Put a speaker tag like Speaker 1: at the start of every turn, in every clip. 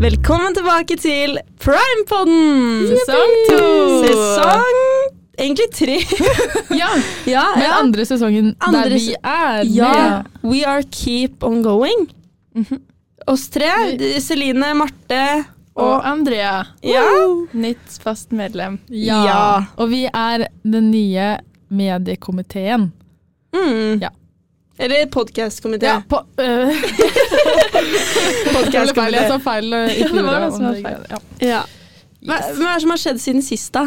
Speaker 1: Velkommen tilbake til Primepodden!
Speaker 2: Sesong to!
Speaker 1: Mm. Sesong egentlig tre.
Speaker 2: Ja,
Speaker 1: ja,
Speaker 2: men
Speaker 1: ja.
Speaker 2: andre sesongen
Speaker 1: Andre
Speaker 2: der vi
Speaker 1: se-
Speaker 2: er
Speaker 1: ja.
Speaker 2: med.
Speaker 1: We are keep on going.
Speaker 2: Mhm.
Speaker 1: Oss tre. d- Celine, Marte
Speaker 2: Og
Speaker 1: og
Speaker 2: Andrea,
Speaker 1: Ja.
Speaker 3: Nytt fast medlem.
Speaker 1: Ja.
Speaker 2: Og vi er den nye mediekomiteen.
Speaker 1: Mm.
Speaker 2: Ja.
Speaker 1: Eller podkastkomité. Ja.
Speaker 2: på, øh, det ble feil, jeg sa feil. øh, i
Speaker 3: Ja, det var
Speaker 2: plural
Speaker 3: det som var
Speaker 2: om
Speaker 3: feil.
Speaker 2: Ja.
Speaker 1: Ja. Hva,
Speaker 2: Yes.
Speaker 1: hva er det som har skjedd siden sist, da?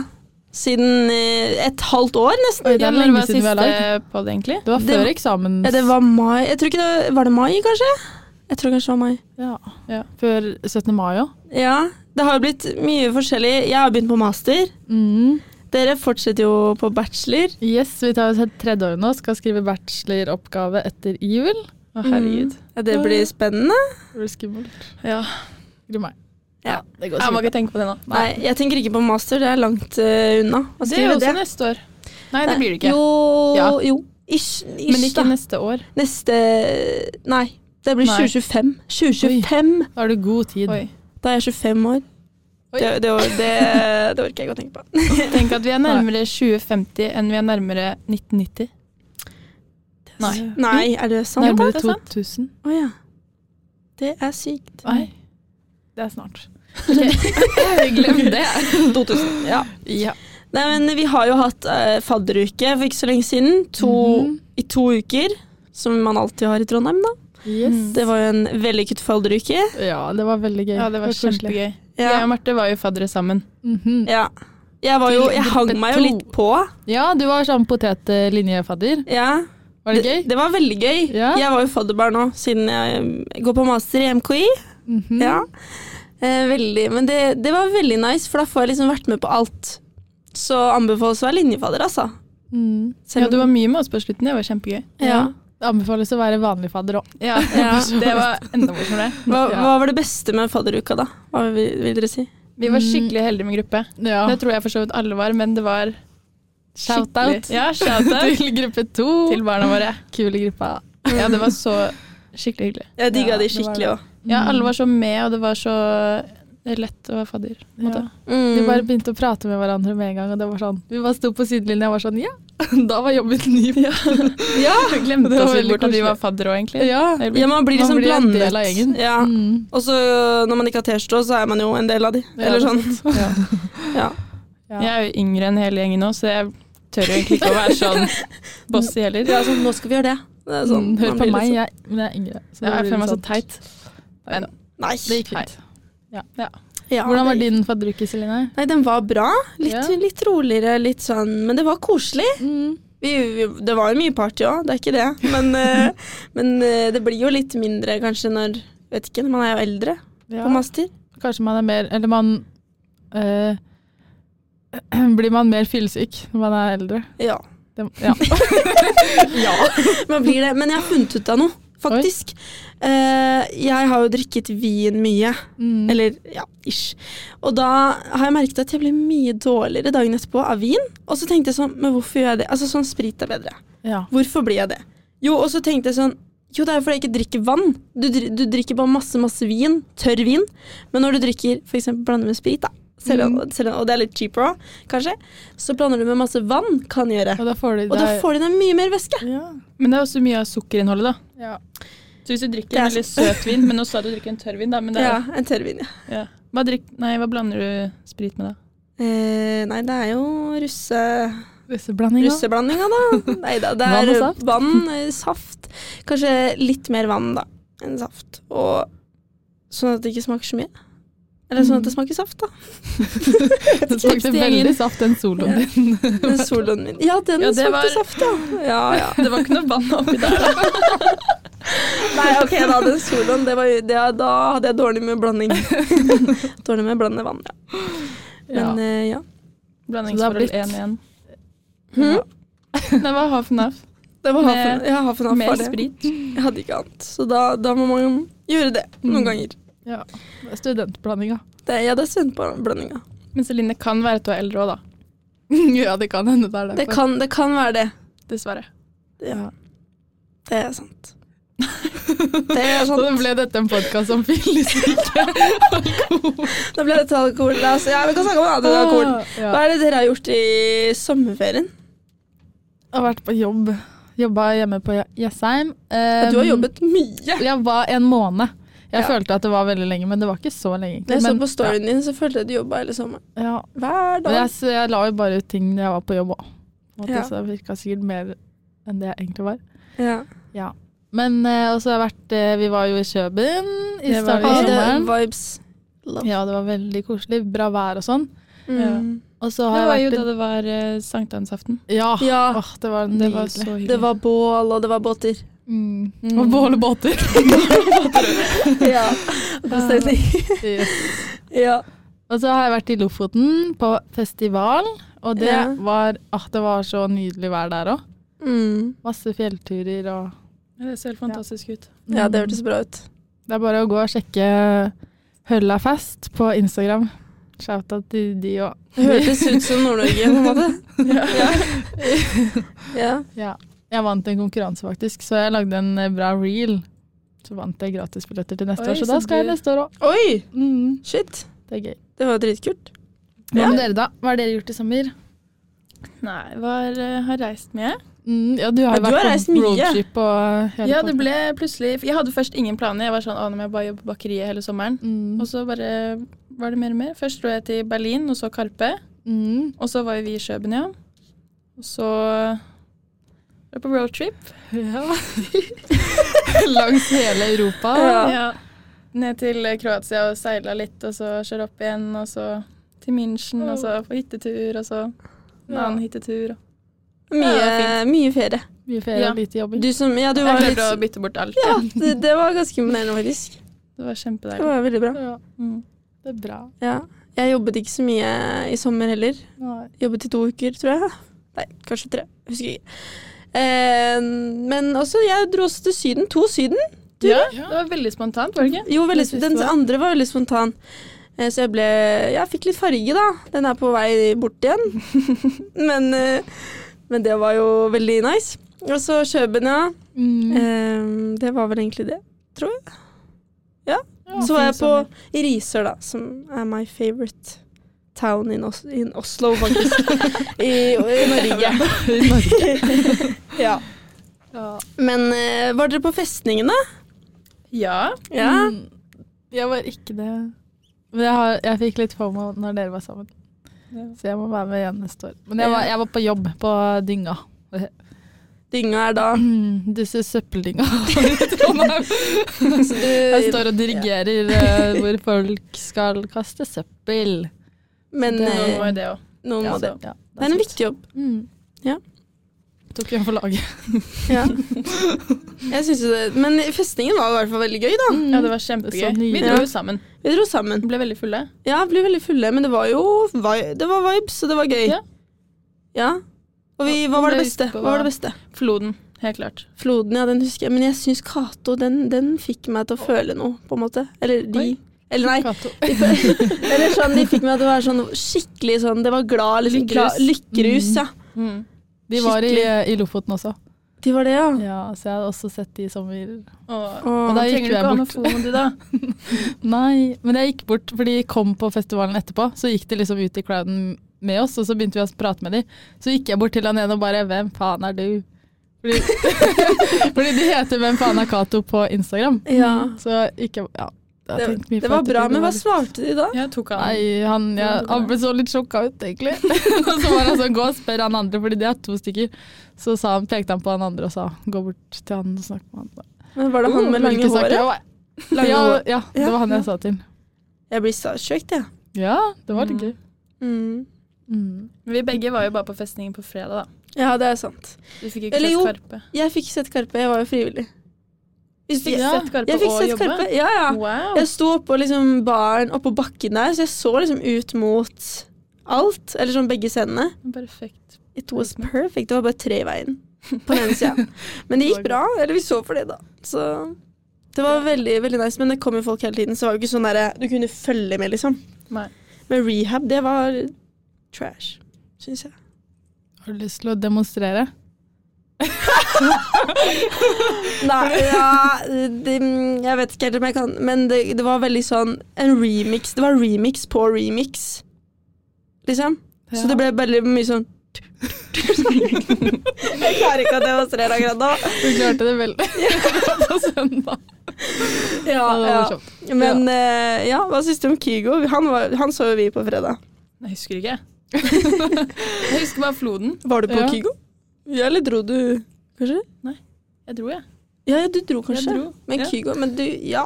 Speaker 1: Siden eh, et halvt år, nesten?
Speaker 2: Oi, det er
Speaker 3: Ja, når
Speaker 2: lenge
Speaker 3: var
Speaker 2: siden vi har
Speaker 3: siste podd, egentlig?
Speaker 2: Det var
Speaker 1: Det-
Speaker 2: før eksamen.
Speaker 1: Ja, det var mai. Jeg tror ikke det, var det mai, kanskje? Jeg tror kanskje det var mai.
Speaker 2: Ja.
Speaker 3: Ja.
Speaker 2: Før 17. mai, ja.
Speaker 1: Ja, det har jo blitt mye forskjellig. Jeg har begynt på master.
Speaker 2: Mm.
Speaker 1: Dere fortsetter jo på bachelor.
Speaker 2: Yes, vi tar oss et tredje år nå, skal skrive bacheloroppgave etter jul.
Speaker 3: Å, herregud.
Speaker 1: Ja, det blir spennende.
Speaker 2: Det blir skummelt.
Speaker 3: Ja.
Speaker 2: Gruer meg.
Speaker 1: Ja.
Speaker 2: det går
Speaker 3: Jeg må
Speaker 2: sikkert.
Speaker 3: ikke tenke på det nå.
Speaker 1: Nei, jeg tenker ikke på master. Det er langt eh, unna å
Speaker 3: Det er
Speaker 1: skrive
Speaker 3: jo
Speaker 1: det.
Speaker 3: også neste år. Nei, det blir det ikke.
Speaker 1: Jo,
Speaker 3: Ja.
Speaker 1: jo. Ish, ish
Speaker 3: Men ikke
Speaker 1: da.
Speaker 3: neste år.
Speaker 1: Neste Nei, det blir
Speaker 3: Nei.
Speaker 1: 2025. 2025!
Speaker 2: Da har du god tid.
Speaker 3: Oi.
Speaker 1: Da er jeg 25 år.
Speaker 2: Oi.
Speaker 1: Det, det, det, det orker jeg ikke å tenke på.
Speaker 3: Tenk at vi er nærmere 2050 enn vi er nærmere 1990. Nei.
Speaker 1: Nei, er det sant?
Speaker 2: Nærmere
Speaker 3: det er sant.
Speaker 2: 2000.
Speaker 1: Å ja. Det er sykt.
Speaker 3: Nei.
Speaker 2: Det er snart.
Speaker 3: Glem det.
Speaker 1: 2000. Ja.
Speaker 2: Ja.
Speaker 1: Nei, men vi har jo hatt eh, fadderuke for ikke så lenge siden. To,
Speaker 2: Mhm.
Speaker 1: I to uker. Som man alltid har i Trondheim, da.
Speaker 2: Yes.
Speaker 1: Det var jo en vellykket fadderuke.
Speaker 2: Ja, det var veldig gøy.
Speaker 3: Mm. Ja, det var
Speaker 2: koselig.
Speaker 3: kjempegøy. Jeg og Marte var jo faddere sammen.
Speaker 2: Mhm.
Speaker 1: Ja. Jeg var jo Jeg
Speaker 2: Til
Speaker 1: hang
Speaker 2: gruppe
Speaker 1: meg jo litt
Speaker 2: to.
Speaker 1: på.
Speaker 2: Ja, du var sånn potetlinjefadder.
Speaker 1: Ja.
Speaker 2: Var det gøy?
Speaker 1: Det var veldig gøy.
Speaker 2: Ja.
Speaker 1: Jeg var jo fadderbarn nå, siden jeg eh, går på master i MKI.
Speaker 2: Mhm.
Speaker 1: Ja. Eh, veldig. Men det, det var veldig nice, for da får jeg liksom vært med på alt. Så anbefales å være linjefadder, altså.
Speaker 2: Mm.
Speaker 1: Selv
Speaker 3: Ja,
Speaker 1: om-
Speaker 3: du var mye med oss på slutten. Det var kjempegøy.
Speaker 1: ja.
Speaker 2: Det anbefales å være vanlig fadder òg.
Speaker 3: Ja, Det var enda morsommere.
Speaker 1: Hva,
Speaker 2: Ja.
Speaker 1: hva var det beste med fadderuka, da? Hva vil, vil dere si?
Speaker 3: Vi var skikkelig heldige med gruppe.
Speaker 2: Ja.
Speaker 3: Det tror jeg for så vidt alle var, men det var
Speaker 2: Shout-out.
Speaker 3: skikkelig- Ja, shout-out
Speaker 2: Til gruppe to.
Speaker 3: til barna våre.
Speaker 2: Kule gruppa.
Speaker 3: Ja, det var så skikkelig hyggelig.
Speaker 1: Jeg digga
Speaker 2: Ja,
Speaker 1: de
Speaker 2: det var
Speaker 1: skikkelig
Speaker 2: det.
Speaker 1: òg.
Speaker 3: Ja, alle var så med, og det var så lett å være fadder. på en måte.
Speaker 2: Ja. Vi bare begynte å prate med hverandre med en gang. Og det var sånn, vi bare sto på sidelinja og var sånn Ja!
Speaker 1: Mm.
Speaker 2: Da var jobben ny. Ja.
Speaker 3: Vi glemte
Speaker 2: Det var
Speaker 3: oss litt
Speaker 2: veldig
Speaker 3: bort at vi
Speaker 2: koselig.
Speaker 3: var fadder òg, egentlig.
Speaker 1: Ja, man blir
Speaker 2: Man
Speaker 1: liksom
Speaker 2: blir en
Speaker 1: blandet.
Speaker 2: del av gjengen.
Speaker 1: Ja.
Speaker 2: Mm.
Speaker 1: Og så når man ikke har T-skjorte, så er man jo en del av de.
Speaker 2: Ja,
Speaker 1: Eller
Speaker 2: det er
Speaker 1: sånn.
Speaker 2: Ja.
Speaker 1: Ja.
Speaker 2: Ja.
Speaker 3: Jeg er jo yngre enn hele gjengen nå, så jeg tør jo egentlig ikke å være sånn bossy heller.
Speaker 1: Ja, sånn, nå skal vi gjøre det. det er sånn,
Speaker 2: Mm, Hør
Speaker 1: man
Speaker 2: på
Speaker 1: blir
Speaker 2: meg,
Speaker 1: liksom-
Speaker 2: jeg, men jeg er yngre. så
Speaker 3: Ja,
Speaker 2: da
Speaker 3: jeg
Speaker 2: blir liksom
Speaker 3: føler meg
Speaker 2: det
Speaker 3: så teit. Men
Speaker 1: Nei.
Speaker 2: Det gikk fint.
Speaker 1: Ja,
Speaker 2: Hvordan var
Speaker 1: det-
Speaker 2: din fadderuke, Celine?
Speaker 1: Nei, den var bra. Litt,
Speaker 2: Ja.
Speaker 1: litt roligere, litt sånn Men det var koselig. Vi, vi, det var jo mye party òg, det er ikke det. Men, eh, men eh, det blir jo litt mindre kanskje når Vet ikke, når man er jo eldre
Speaker 2: Ja.
Speaker 1: på master.
Speaker 2: Kanskje man er mer Eller man eh, Blir man mer fyllesyk når man er eldre?
Speaker 1: Ja.
Speaker 2: Det, ja.
Speaker 1: Man blir det. Men jeg har funnet ut av noe, faktisk. Eh, jeg har jo drikket vin mye.
Speaker 2: Mm.
Speaker 1: Eller ja, ish. Og da har jeg merket at jeg ble mye dårligere dagen etterpå av vin. Og så tenkte jeg sånn, men hvorfor gjør jeg det? Altså sånn sprit er bedre.
Speaker 2: ja.
Speaker 1: Hvorfor blir jeg det? Jo, og så tenkte jeg sånn, jo det er jo fordi jeg ikke drikker vann. Du, dri- du drikker bare masse, masse vin, tørr vin. Men når du drikker for eksempel blander med sprit da, selv om, selv om, og det er litt cheaper også, kanskje, så blander du med masse vann, kan gjøre.
Speaker 2: Og da får du
Speaker 1: Og da får du deg mye mer væske.
Speaker 2: ja.
Speaker 3: Men det er også mye av sukkerinnholdet, da.
Speaker 2: Ja.
Speaker 3: Så hvis du drikker
Speaker 1: Det er
Speaker 3: en veldig søt vin, men nå sa du drikker en tørr vin, da. Men det
Speaker 1: Ja,
Speaker 3: er,
Speaker 1: en tørr vin, ja.
Speaker 3: ja. Hva, drikk, nei, hva blander du sprit med, da?
Speaker 1: Eh, nei, det er jo russe...
Speaker 2: Russeblanding òg.
Speaker 1: Russeblandinga, da? Nei da, det
Speaker 2: Vann
Speaker 1: er
Speaker 2: og
Speaker 1: vann,
Speaker 2: saft?
Speaker 1: eh, saft. Kanskje litt mer vann da, enn saft. Og sånn at det ikke smaker så mye. Eller sånn at det smaker saft, da.
Speaker 2: Det smakte
Speaker 3: Gjengen.
Speaker 2: veldig saft, den soloen din.
Speaker 1: Den soloen min. Ja, den
Speaker 3: Ja, det
Speaker 1: smakte
Speaker 3: var-
Speaker 1: saft, ja. ja, ja.
Speaker 3: Det var ikke noe vann oppi der, da.
Speaker 1: Nei, ok, da, den soloen, det var, jo- det, da hadde jeg dårlig med blanding. dårlig med blandende vann, ja.
Speaker 2: Ja.
Speaker 1: Men eh, ja.
Speaker 3: Blandingsforhold
Speaker 2: blitt-
Speaker 3: 1-1.
Speaker 1: Hm?
Speaker 3: Det var half and half.
Speaker 1: Det var
Speaker 3: Med-
Speaker 1: hafen, ja, hafen av
Speaker 3: Mer
Speaker 1: for det.
Speaker 3: sprit.
Speaker 1: Jeg hadde ikke annet. Så da, da må man gjøre det noen
Speaker 2: Mm.
Speaker 1: ganger.
Speaker 2: Ja. Studentblandinga.
Speaker 1: Det, ja, det er studentblandinga.
Speaker 3: Men Celine det kan være at du er eldre òg, da.
Speaker 2: ja, det kan hende det er
Speaker 1: Det kan, det kan være det.
Speaker 3: Dessverre.
Speaker 1: Ja. Det er sant. Det er
Speaker 2: Så da
Speaker 1: sant.
Speaker 2: ble dette en podkast om fyllesyke.
Speaker 1: Da ble det til alkohol. La oss, ja, vi kan snakke om det. alkohol. Hva
Speaker 2: Ja.
Speaker 1: er det dere har gjort i sommerferien?
Speaker 2: Jeg har vært på jobb. Jobba hjemme på Jessheim.
Speaker 1: Ja,
Speaker 2: Um,
Speaker 1: du har jobbet mye.
Speaker 2: Jeg var en måned. Jeg
Speaker 1: Ja.
Speaker 2: følte at det var veldig lenge, men det var ikke så lenge.
Speaker 1: Da
Speaker 2: egentlig.
Speaker 1: jeg så
Speaker 2: Men-
Speaker 1: på storyen din, så følte jeg at du jobba hele sommeren.
Speaker 2: Ja, ja.
Speaker 1: Hver
Speaker 2: Men jeg,
Speaker 1: dag.
Speaker 2: s- jeg la jo bare ut ting når jeg var på jobb òg.
Speaker 1: Ja.
Speaker 2: Så det virka sikkert mer enn det jeg egentlig var.
Speaker 1: Ja.
Speaker 2: Men eh, også har jeg vært eh, Vi var jo i Kjøben i
Speaker 1: Det var
Speaker 2: starten av sommeren.
Speaker 1: vibes. Love.
Speaker 2: Ja, det var veldig koselig. Bra vær og sånn.
Speaker 1: Mm.
Speaker 2: Og så
Speaker 3: Det
Speaker 2: har
Speaker 3: var
Speaker 2: jeg
Speaker 3: jo da
Speaker 2: vært
Speaker 3: det var eh, sankthansaften.
Speaker 2: Ja!
Speaker 1: Ja.
Speaker 2: Åh, det var
Speaker 3: Det var
Speaker 2: nydelig.
Speaker 3: så hyggelig.
Speaker 1: Det var bål, og det var båter.
Speaker 2: Mm.
Speaker 3: Mm.
Speaker 2: Og bål og båter.
Speaker 1: ja. God stemning. ja.
Speaker 2: Og så har jeg vært i Lofoten på festival, og det
Speaker 1: Ja.
Speaker 2: var ah, Det var så nydelig vær der òg.
Speaker 1: Mm.
Speaker 2: Masse fjellturer og
Speaker 3: Ja, Det ser helt fantastisk ut.
Speaker 1: ja, det hørtes bra ut.
Speaker 2: Det er bare å gå og sjekke Hølla fest på Instagram. Shout-out til de òg.
Speaker 1: Det hørtes ut som Nord-Norge, på en måte. ja. ja.
Speaker 2: Ja. Jeg vant en konkurranse, faktisk, så jeg lagde en eh, bra reel. Så vant jeg gratisbilletter til neste
Speaker 3: Oi,
Speaker 2: år, så,
Speaker 3: så
Speaker 2: da skal
Speaker 3: du-
Speaker 2: jeg neste år òg.
Speaker 1: Oi!
Speaker 2: Mm,
Speaker 1: Shit.
Speaker 2: det er gøy.
Speaker 1: Det var jo dritkult.
Speaker 2: Hva
Speaker 1: Ja.
Speaker 2: med dere, da? Hva har dere gjort i sommer?
Speaker 3: Nei, var, eh, har reist mye.
Speaker 2: Mm, ja, du har
Speaker 1: Ja,
Speaker 2: jo
Speaker 1: du har
Speaker 2: vært
Speaker 1: reist
Speaker 2: på
Speaker 1: mye.
Speaker 2: roadtrip og eh, hele
Speaker 3: Ja, det
Speaker 2: pakka.
Speaker 3: ble plutselig Jeg hadde først ingen planer. Jeg var sånn, «Å, nå må jeg bare jobbe på bakeriet hele sommeren.
Speaker 2: mm,
Speaker 3: Og så bare var det mer og mer. Først dro jeg til Berlin, og så Karpe.
Speaker 2: mm.
Speaker 3: Og så var jo vi i Kjøben, ja. Og så var jeg på roadtrip.
Speaker 2: Ja. Langs hele Europa.
Speaker 1: Ja.
Speaker 3: Ned til Kroatia og seila litt, og så kjøre opp igjen, og så til München, og så på hyttetur, og så en
Speaker 2: Ja.
Speaker 3: annen hyttetur.
Speaker 1: Mye,
Speaker 3: Ja,
Speaker 1: mye ferie.
Speaker 2: Mye ferie
Speaker 3: Ja.
Speaker 2: og lite jobbing.
Speaker 1: Du som Ja, du
Speaker 3: Jeg
Speaker 1: var litt
Speaker 3: klarte å bytte bort alt.
Speaker 1: Ja, det, det var ganske imponerende, faktisk.
Speaker 3: Det var
Speaker 1: Det
Speaker 3: kjempedeilig.
Speaker 1: var veldig bra.
Speaker 2: Ja,
Speaker 3: Mm.
Speaker 2: det er bra.
Speaker 1: Ja. Jeg jobbet ikke så mye i sommer heller.
Speaker 2: Nei.
Speaker 1: Jobbet i to uker, tror jeg. Nei, kanskje tre. Jeg Husker ikke. Eh, men også, jeg dro også til Syden. To Syden. Du, Mm.
Speaker 3: ja, det var veldig spontant, var det ikke?
Speaker 1: Jo, veldig,
Speaker 3: siste
Speaker 1: den
Speaker 3: var-
Speaker 1: andre var veldig spontan. Eh, Så jeg ble Jeg fikk litt farge, da. Den er på vei bort igjen. men, eh, men det var jo veldig nice. Og så Kjøben, ja.
Speaker 2: Mm.
Speaker 1: Eh, Det var vel egentlig det, tror jeg.
Speaker 2: Ja,
Speaker 1: så var jeg
Speaker 2: fin
Speaker 1: på
Speaker 2: sommer.
Speaker 1: i Risør, da, som er my favorite town in, Os in Oslo, faktisk. I, I Norge.
Speaker 2: I Norge.
Speaker 1: ja.
Speaker 2: Ja.
Speaker 1: Men eh, var dere på festningen, da?
Speaker 3: Ja.
Speaker 1: Ja.
Speaker 2: Mm, Jeg var ikke det. Men jeg, har, jeg fikk litt fomo når dere var sammen, så jeg må være med igjen neste år. Men jeg var, jeg var på jobb på dynga.
Speaker 1: Dynga er da
Speaker 2: Mm, Disse søppeldynga i Trondheim.
Speaker 1: Så du,
Speaker 2: Jeg står og dirigerer eh, hvor folk skal kaste søppel.
Speaker 1: Men
Speaker 2: Det-
Speaker 1: eh,
Speaker 3: Noen må jo det òg.
Speaker 1: noen må
Speaker 2: Ja,
Speaker 1: det.
Speaker 2: ja,
Speaker 1: Det er en
Speaker 2: sant.
Speaker 1: viktig jobb.
Speaker 2: Mm.
Speaker 1: Ja.
Speaker 2: Tok en for laget.
Speaker 1: Ja. Jeg synes jo det, men festningen var i hvert fall veldig gøy, da.
Speaker 3: Ja, det var kjempegøy.
Speaker 2: Så nydelig.
Speaker 3: Vi dro jo sammen.
Speaker 1: Vi dro sammen.
Speaker 3: Ble veldig fulle.
Speaker 1: Ja, ble veldig fulle, men det var jo vi- det var vibes, og det var gøy.
Speaker 3: Ja.
Speaker 1: Ja. Og vi, hva var det
Speaker 3: Ble
Speaker 1: beste?
Speaker 3: ute og
Speaker 1: Hva var
Speaker 3: var-
Speaker 1: det beste?
Speaker 3: Floden, helt klart.
Speaker 1: Floden, ja, den husker jeg. Men jeg syns Cato, den, den fikk meg til å føle noe, på en måte. Eller de.
Speaker 2: Oi.
Speaker 1: Eller nei.
Speaker 2: Kato.
Speaker 1: Eller sånn, de fikk meg til å være sånn skikkelig sånn Det var glad, liksom.
Speaker 3: Lykkerus.
Speaker 1: Glad, lykkerus, ja.
Speaker 3: Mm.
Speaker 2: De var i, eh,
Speaker 1: Skikkelig.
Speaker 2: i Lofoten også.
Speaker 1: De var det, ja.
Speaker 2: Ja, så jeg hadde også sett de i sommer.
Speaker 3: Og,
Speaker 1: Åh.
Speaker 3: og da gikk
Speaker 2: Trenger du ikke ha noe
Speaker 3: vi bort. Foden, du, da.
Speaker 2: Nei, men jeg gikk bort, for de kom på festivalen etterpå. Så gikk de liksom ut i crowden med oss, og så begynte vi å prate med de. Så gikk jeg bort til han ene og bare 'Hvem faen er du?' Fordi, fordi de heter 'Hvem faen er Cato?' på Instagram.
Speaker 1: ja.
Speaker 2: Så gikk jeg Ja. jeg har
Speaker 1: Det,
Speaker 2: tenkt mye på
Speaker 1: det var
Speaker 2: ettertid,
Speaker 1: bra, men hva
Speaker 2: litt-
Speaker 1: svarte de da?
Speaker 3: Jeg tok han.
Speaker 2: Nei, han, jeg, han ble så litt sjokka ut, egentlig. og så var han sånn, gå og spør han andre, fordi det er to stykker. Så sa han, pekte han på han andre og sa, gå bort til han og snakk med han. Uh,
Speaker 1: Men var det han med lange håret? Lange
Speaker 2: Ja,
Speaker 1: hår.
Speaker 2: ja, det
Speaker 1: Ja,
Speaker 2: var han
Speaker 1: ja.
Speaker 2: jeg sa til.
Speaker 1: Jeg blir starstruck, jeg.
Speaker 2: Ja, det var litt
Speaker 3: Mm.
Speaker 2: gøy.
Speaker 1: Mm.
Speaker 2: Mm.
Speaker 3: Vi begge var jo bare på festningen på fredag, da.
Speaker 1: Ja, det er sant.
Speaker 3: Vi fikk ikke
Speaker 1: Eller
Speaker 3: sett
Speaker 1: jo.
Speaker 3: Karpe.
Speaker 1: Jeg fikk sett Karpe, jeg var jo frivillig.
Speaker 3: Vi fikk
Speaker 2: Ja,
Speaker 3: sett Karpe
Speaker 1: Jeg fikk
Speaker 3: og
Speaker 1: sett
Speaker 3: jobbe.
Speaker 1: Karpe, ja ja.
Speaker 3: Wow.
Speaker 1: Jeg sto oppå liksom baren oppå bakken der, så jeg så liksom ut mot alt. Eller sånn begge scenene.
Speaker 3: Perfekt.
Speaker 1: It was perfect. Det var bare tre i veien på den ene sida. Men det gikk bra. Eller vi så for det, da. Så det var veldig veldig nice. Men det kom jo folk hele tiden, så det var jo ikke sånn derre du kunne følge med, liksom.
Speaker 3: Nei.
Speaker 1: Men rehab, det var trash, syns jeg.
Speaker 2: Har du lyst til å demonstrere?
Speaker 1: Nei, ja, det, jeg vet ikke helt om jeg kan Men det, det var veldig sånn en remix. Det var remix på remix, liksom. Så det ble veldig mye sånn Jeg klarer ikke å demonstrere akkurat nå.
Speaker 2: Du klarte det veldig bra på søndag.
Speaker 1: Ja,
Speaker 2: Ja, det var
Speaker 1: ja.
Speaker 2: morsomt.
Speaker 1: Men eh, ja, hva syns du om Kygo? Han, var, han så jo vi på fredag.
Speaker 3: Jeg husker ikke. jeg husker bare floden.
Speaker 1: Var du på
Speaker 2: Ja.
Speaker 1: Kygo? Ja, eller dro du kanskje?
Speaker 3: Jeg dro, jeg.
Speaker 1: Ja, ja du dro
Speaker 3: jeg
Speaker 1: kanskje.
Speaker 3: dro.
Speaker 1: Men
Speaker 3: ja.
Speaker 1: Kygo, men du Ja.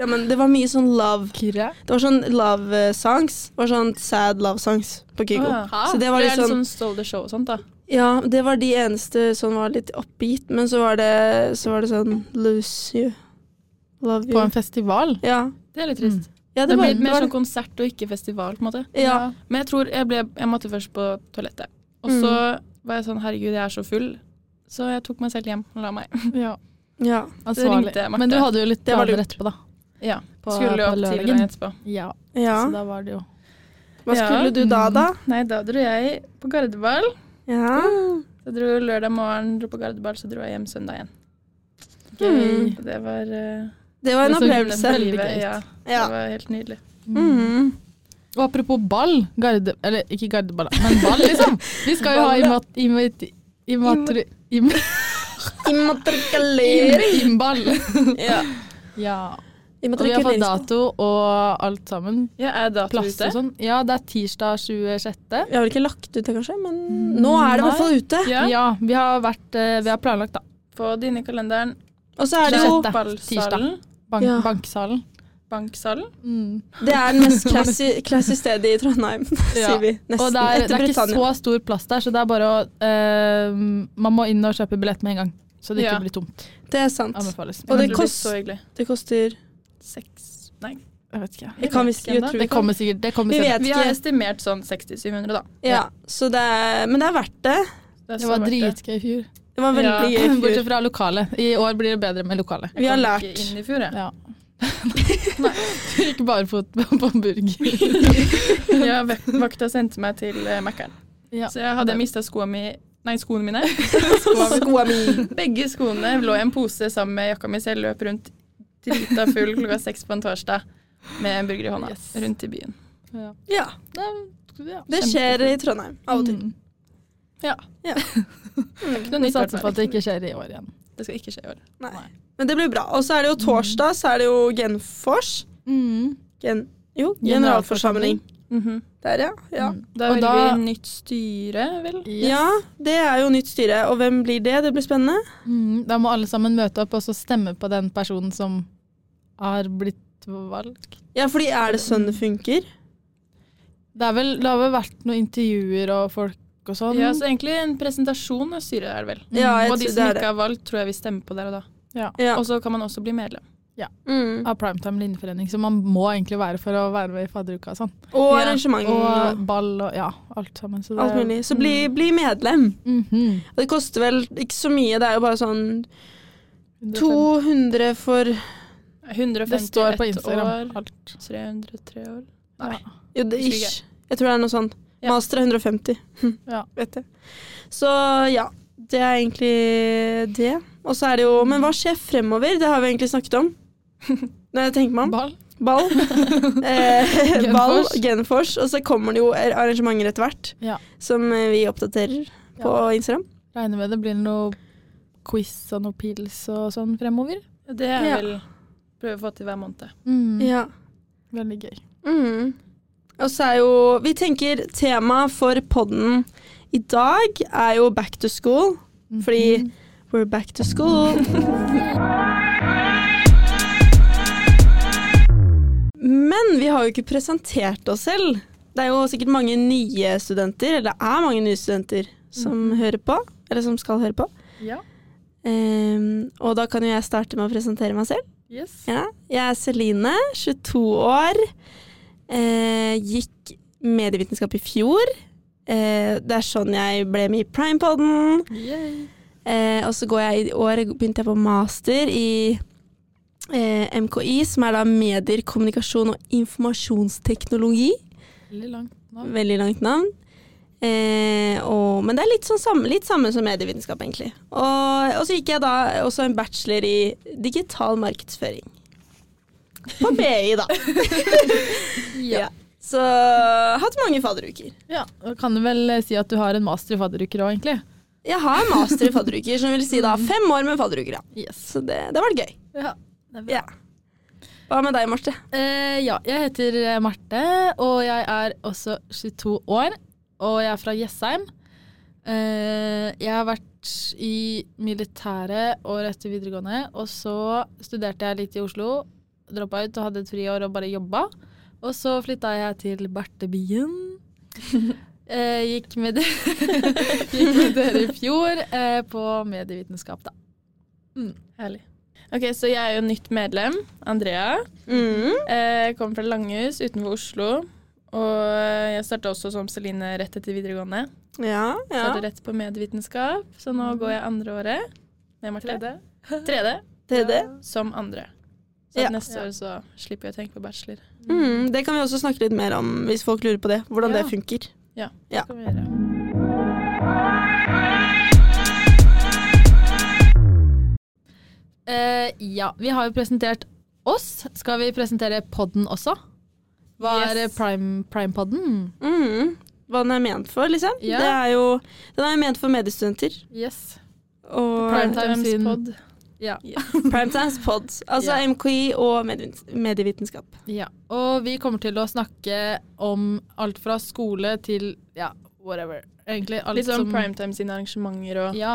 Speaker 1: ja. Men det var mye sånn love.
Speaker 2: Kira.
Speaker 1: Det var sånn love eh, songs. Det var sånn sad love songs på Kygo.
Speaker 3: Å, ja.
Speaker 1: Så det var litt
Speaker 3: er
Speaker 1: sånn-
Speaker 3: sånn Stole the Show og sånt, da.
Speaker 1: Ja, det var de eneste som var litt oppgitt, men så var det, så var det sånn Lose you, love
Speaker 2: På
Speaker 1: you.
Speaker 2: en festival.
Speaker 1: Ja,
Speaker 3: Det er litt trist.
Speaker 1: Mm. ja
Speaker 3: Det
Speaker 1: det var
Speaker 3: blir mer
Speaker 1: det
Speaker 3: sånn
Speaker 1: var-
Speaker 3: konsert og ikke festival, på en måte.
Speaker 1: Ja,
Speaker 3: Men jeg tror jeg, ble, jeg måtte først på toalettet. Og så var jeg sånn herregud, jeg er så full. Så jeg tok meg selv hjem og la meg.
Speaker 2: Mm. Ja.
Speaker 1: ja.
Speaker 2: Ansvarlig.
Speaker 3: ringte jeg, Marte.
Speaker 2: Men du hadde jo litt
Speaker 1: Det var
Speaker 2: planer
Speaker 1: lurt.
Speaker 2: etterpå, da.
Speaker 3: Ja,
Speaker 2: På-
Speaker 3: Skulle jo
Speaker 2: på
Speaker 3: opp tidlig
Speaker 2: lørdagen.
Speaker 3: dagen etterpå.
Speaker 2: Ja. Så
Speaker 1: ja.
Speaker 2: da var det jo
Speaker 1: Hva
Speaker 3: Ja.
Speaker 1: skulle du da, da?
Speaker 3: Nei, da dro jeg på gardeball.
Speaker 1: Ja.
Speaker 3: Jeg dro lørdag morgen, dro på gardeball, så dro jeg hjem søndag igjen.
Speaker 1: Mm.
Speaker 3: Og Det var eh,
Speaker 1: Det var en
Speaker 2: Det så
Speaker 1: opplevelse.
Speaker 2: veldig-
Speaker 3: livet.
Speaker 2: gøy ut.
Speaker 3: Ja, det
Speaker 1: Ja.
Speaker 3: var helt nydelig.
Speaker 1: Mm.
Speaker 2: Og apropos ball, garde... Eller ikke gardeball, men ball, liksom. Vi skal jo ha imat... imat, imat, imat,
Speaker 1: Immatrikulering.
Speaker 2: imball.
Speaker 1: Ja.
Speaker 2: Ja. Og vi har fått
Speaker 1: Immatrikuleringsdag.
Speaker 2: dato og alt sammen.
Speaker 3: Ja, er dato
Speaker 2: Plass
Speaker 3: ute?
Speaker 2: og sånn. Ja, det er tirsdag 26.
Speaker 1: Jeg har vel ikke lagt ut det, kanskje, men nå er det i hvert fall ute.
Speaker 3: Ja.
Speaker 2: Ja, vi har, vært, eh, vi har planlagt, da.
Speaker 3: På dine kalenderen.
Speaker 1: Og så er det jo
Speaker 2: Sjette.
Speaker 3: Ballsalen.
Speaker 2: Bank,
Speaker 1: Ja.
Speaker 2: Banksalen.
Speaker 3: Banksalen.
Speaker 2: Mm.
Speaker 1: Det er det mest classy, classy stedet i Trondheim, sier vi.
Speaker 2: Og
Speaker 1: Nesten.
Speaker 2: det er,
Speaker 1: Etter
Speaker 2: det er ikke
Speaker 1: Britannia.
Speaker 2: så stor plass der, så det er bare å eh, Man må inn og kjøpe billett med en gang, så det ikke
Speaker 3: Ja.
Speaker 2: blir tomt.
Speaker 1: Det er sant.
Speaker 2: Anbefales.
Speaker 1: Og det
Speaker 3: blir
Speaker 1: kost-
Speaker 3: så hyggelig.
Speaker 1: Det koster
Speaker 3: Seks Nei.
Speaker 2: Jeg vet ikke.
Speaker 1: Jeg kan
Speaker 3: vet
Speaker 1: visst
Speaker 3: ikke
Speaker 1: jeg
Speaker 3: ennå.
Speaker 1: tror
Speaker 2: Det
Speaker 1: vi kan-
Speaker 2: kommer sikkert. Det kommer
Speaker 1: Vi
Speaker 2: senere.
Speaker 1: vet
Speaker 3: Vi har
Speaker 1: ikke.
Speaker 3: estimert sånn 60-700, da.
Speaker 1: Ja, så det er, men det er verdt det.
Speaker 3: Det, er
Speaker 2: Det
Speaker 3: så
Speaker 2: var
Speaker 3: verdt
Speaker 2: dritgøy i fjor.
Speaker 1: Det var
Speaker 3: Ja.
Speaker 1: veldig gøy i
Speaker 2: Bortsett
Speaker 1: fjor.
Speaker 2: fra lokalet. I år blir det bedre med lokale.
Speaker 1: Vi har
Speaker 3: kom
Speaker 1: lært.
Speaker 3: Ikke inn i fjor, jeg.
Speaker 2: Ja. Ikke bare fot på på burger.
Speaker 3: Ja, vak- vakta sendte meg til eh, Mækkern.
Speaker 2: Ja.
Speaker 3: Så jeg hadde mista skoene, mi, nei, skoene mine.
Speaker 1: Skoa mi.
Speaker 3: Begge skoene lå i en pose sammen med jakka mi, så jeg løp rundt drita full klokka seks på en torsdag med en burger i hånda
Speaker 2: Yes.
Speaker 3: rundt i byen.
Speaker 2: Ja.
Speaker 1: Ja,
Speaker 2: Det, er- ja.
Speaker 1: det skjer i Trondheim av og til.
Speaker 2: Mm.
Speaker 3: Ikke noe
Speaker 2: Vi
Speaker 3: nytt,
Speaker 2: satser på
Speaker 3: hvertfall.
Speaker 2: at det ikke skjer i år igjen.
Speaker 3: det skal ikke skje i år.
Speaker 1: Nei. Men det blir bra. Og så er det jo torsdag, så er det jo Genfors. Gen, jo, generalforsamling. Der, ja. ja.
Speaker 3: Da
Speaker 2: Og
Speaker 3: velger
Speaker 2: da-
Speaker 3: vi nytt styre, vel?
Speaker 2: Yes.
Speaker 1: Ja, det er jo nytt styre. Og hvem blir det? Det blir spennende.
Speaker 2: Mm, da må alle sammen møte opp og så stemme på den personen som har blitt valgt.
Speaker 1: Ja, fordi er det sånn det funker?
Speaker 2: Det, er vel, det har vel vært noen intervjuer og folk og sånn.
Speaker 3: Ja, så egentlig en presentasjon av styret er det vel.
Speaker 1: Ja, jeg
Speaker 3: Og
Speaker 1: tror
Speaker 3: de
Speaker 1: det
Speaker 3: som
Speaker 1: er
Speaker 3: ikke
Speaker 1: det.
Speaker 3: har valgt, tror jeg vi stemmer på der og da.
Speaker 1: Ja.
Speaker 3: Og så kan man også bli medlem.
Speaker 1: Mm.
Speaker 2: Av Primetime Linjeforening, så man må egentlig være for å være med i fadderuka og sånn.
Speaker 1: Og
Speaker 3: Ja.
Speaker 1: arrangement
Speaker 2: Og
Speaker 1: og
Speaker 2: ball og ja, alt sammen. Så
Speaker 1: Mm.
Speaker 2: det,
Speaker 1: alt mulig. Så bli, bli medlem.
Speaker 2: Mhm.
Speaker 1: Og det koster vel ikke så mye, det er jo bare sånn 200 for
Speaker 3: 150
Speaker 2: Det står på
Speaker 3: ett
Speaker 2: Instagram.
Speaker 3: år,
Speaker 2: Alt.
Speaker 3: 303 år.
Speaker 2: Ja.
Speaker 3: Nei.
Speaker 1: Jo, det
Speaker 3: Husker
Speaker 1: ish. Jeg tror det er noe sånt.
Speaker 3: Ja.
Speaker 1: Master er 150. Hm,
Speaker 2: Ja.
Speaker 1: Vet jeg. Så ja, det er egentlig det. Og så er det jo Men hva skjer fremover? Det har vi egentlig snakket om. Når jeg tenker meg om.
Speaker 2: Ball.
Speaker 1: Ball. eh, ball,
Speaker 2: Genfors.
Speaker 1: Genfors. Og så kommer det jo arrangementer etter hvert
Speaker 2: Ja.
Speaker 1: som eh, vi oppdaterer på Instagram.
Speaker 2: Regner med det blir noe quiz og noe pils og sånn fremover.
Speaker 3: Det er
Speaker 1: Ja.
Speaker 3: vel prøve å få til hver måned.
Speaker 2: Ja.
Speaker 1: Ja.
Speaker 2: Veldig gøy.
Speaker 1: Mm. Og så er jo Vi tenker tema for podden i dag er jo back to school. Fordi we're back to school. Men vi har jo ikke presentert oss selv. Det er jo sikkert mange nye studenter, eller det er mange nye studenter som hører på, eller som skal høre på.
Speaker 2: Ja.
Speaker 1: Ehm, og da kan jo jeg starte med å presentere meg selv.
Speaker 2: Yes.
Speaker 1: Ja, jeg er Celine, 22 år. Eh, gikk medievitenskap i fjor. Eh, det er sånn jeg ble med i Primepoden.
Speaker 2: Yay.
Speaker 1: Eh, og så går jeg i år begynte jeg på master i eh, MKI, som er da medier, kommunikasjon og informasjonsteknologi.
Speaker 2: Veldig langt navn.
Speaker 1: Veldig langt navn. Eh, og, men det er litt, sånn samme, litt samme som medievitenskap, egentlig. Og, og så gikk jeg da også en bachelor i digital markedsføring. På BI, da. Ja. Så hatt mange fadderuker.
Speaker 2: Ja, da kan du vel eh, si at du har en master i fadderuker òg, egentlig?
Speaker 1: Jeg har master i fadderuker, som vil si da fem år med fadderuker. Ja.
Speaker 2: Yes.
Speaker 1: Så det, det var det gøy.
Speaker 2: Ja, det er bra.
Speaker 1: Ja. Hva med deg, Marte?
Speaker 2: Eh, ja, jeg heter eh, Marte, og jeg er også 22 år. Og jeg er fra Jessheim. Eh, jeg har vært i militæret året etter videregående, og så studerte jeg litt i Oslo. Droppa ut og hadde et friår og bare jobba. Og så flytta jeg til Bertebyen. Eh, gikk, med de gikk med dere i fjor eh, på medievitenskap, da.
Speaker 3: Herlig. Ok, Så jeg er jo nytt medlem. Andrea.
Speaker 1: Mm.
Speaker 3: Eh, Jeg kommer fra Langhus utenfor Oslo. Og jeg starta også som Celine rett etter videregående.
Speaker 1: Ja, ja.
Speaker 3: Startet rett på medievitenskap, så nå går jeg andre året. Nei, Marte. Mm. Tredje.
Speaker 1: Tredje.
Speaker 3: Som andre. Så
Speaker 1: Ja.
Speaker 3: neste år så slipper jeg å tenke på bachelor.
Speaker 1: Mm, det kan vi også snakke litt mer om hvis folk lurer på det. Hvordan
Speaker 2: Ja.
Speaker 1: det funker.
Speaker 3: Ja.
Speaker 1: Ja.
Speaker 2: Skal vi gjøre. Eh, ja, vi har jo presentert oss. Skal vi presentere podden også? Hva er eh,
Speaker 3: Yes.
Speaker 2: prime- prime-podden?
Speaker 1: Mm. Hva den er ment for, liksom.
Speaker 2: Ja.
Speaker 1: Det er jo, den er jo ment for mediestudenter.
Speaker 2: yes.
Speaker 1: Og
Speaker 2: Prime- Primetimes
Speaker 3: Primetimes
Speaker 2: in-
Speaker 3: pod.
Speaker 2: Ja.
Speaker 1: Primetimes pods. Altså
Speaker 2: Ja.
Speaker 1: MKI og medievit- medievitenskap.
Speaker 2: ja. Og vi kommer til å snakke om alt fra skole til ja, whatever. Egentlig alt
Speaker 3: Litt sånn
Speaker 2: som
Speaker 3: primetime sine arrangementer og
Speaker 2: Ja.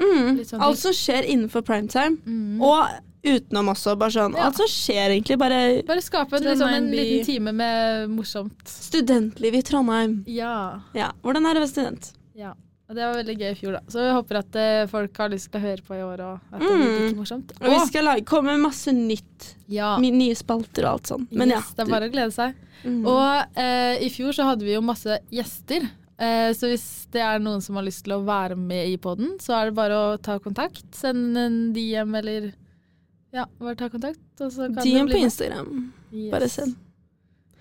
Speaker 1: Mm.
Speaker 2: Litt sånn-
Speaker 1: Alt som skjer innenfor primetime.
Speaker 2: Mm.
Speaker 1: Og utenom også. Bare sånn,
Speaker 2: Ja.
Speaker 1: Alt som skjer, egentlig. Bare
Speaker 2: Bare skape
Speaker 3: Så
Speaker 2: litt
Speaker 3: den
Speaker 2: sånn
Speaker 3: er en
Speaker 2: en
Speaker 3: by-
Speaker 2: liten time med morsomt.
Speaker 1: studentliv i Trondheim.
Speaker 2: Ja.
Speaker 1: Ja. Hvordan er det å være student?
Speaker 2: Ja, og det var veldig gøy i fjor, da. Så jeg håper at eh, folk har lyst til å høre på i år, og at det blir
Speaker 1: Mm.
Speaker 2: like morsomt.
Speaker 1: Og vi
Speaker 2: Å,
Speaker 1: skal lage, komme med masse nytt.
Speaker 2: ja.
Speaker 1: My- Nye spalter og alt sånn. Men
Speaker 2: yes,
Speaker 1: ja.
Speaker 2: det er bare å glede seg.
Speaker 1: Mm.
Speaker 2: Og eh, i fjor så hadde vi jo masse gjester. Eh, så hvis det er noen som har lyst til å være med i poden, så er det bare å ta kontakt. Send en DM eller Ja, bare ta kontakt, og så kan
Speaker 1: DM
Speaker 2: du
Speaker 1: på
Speaker 2: bli med.
Speaker 1: Instagram.
Speaker 2: Yes.
Speaker 1: Bare send.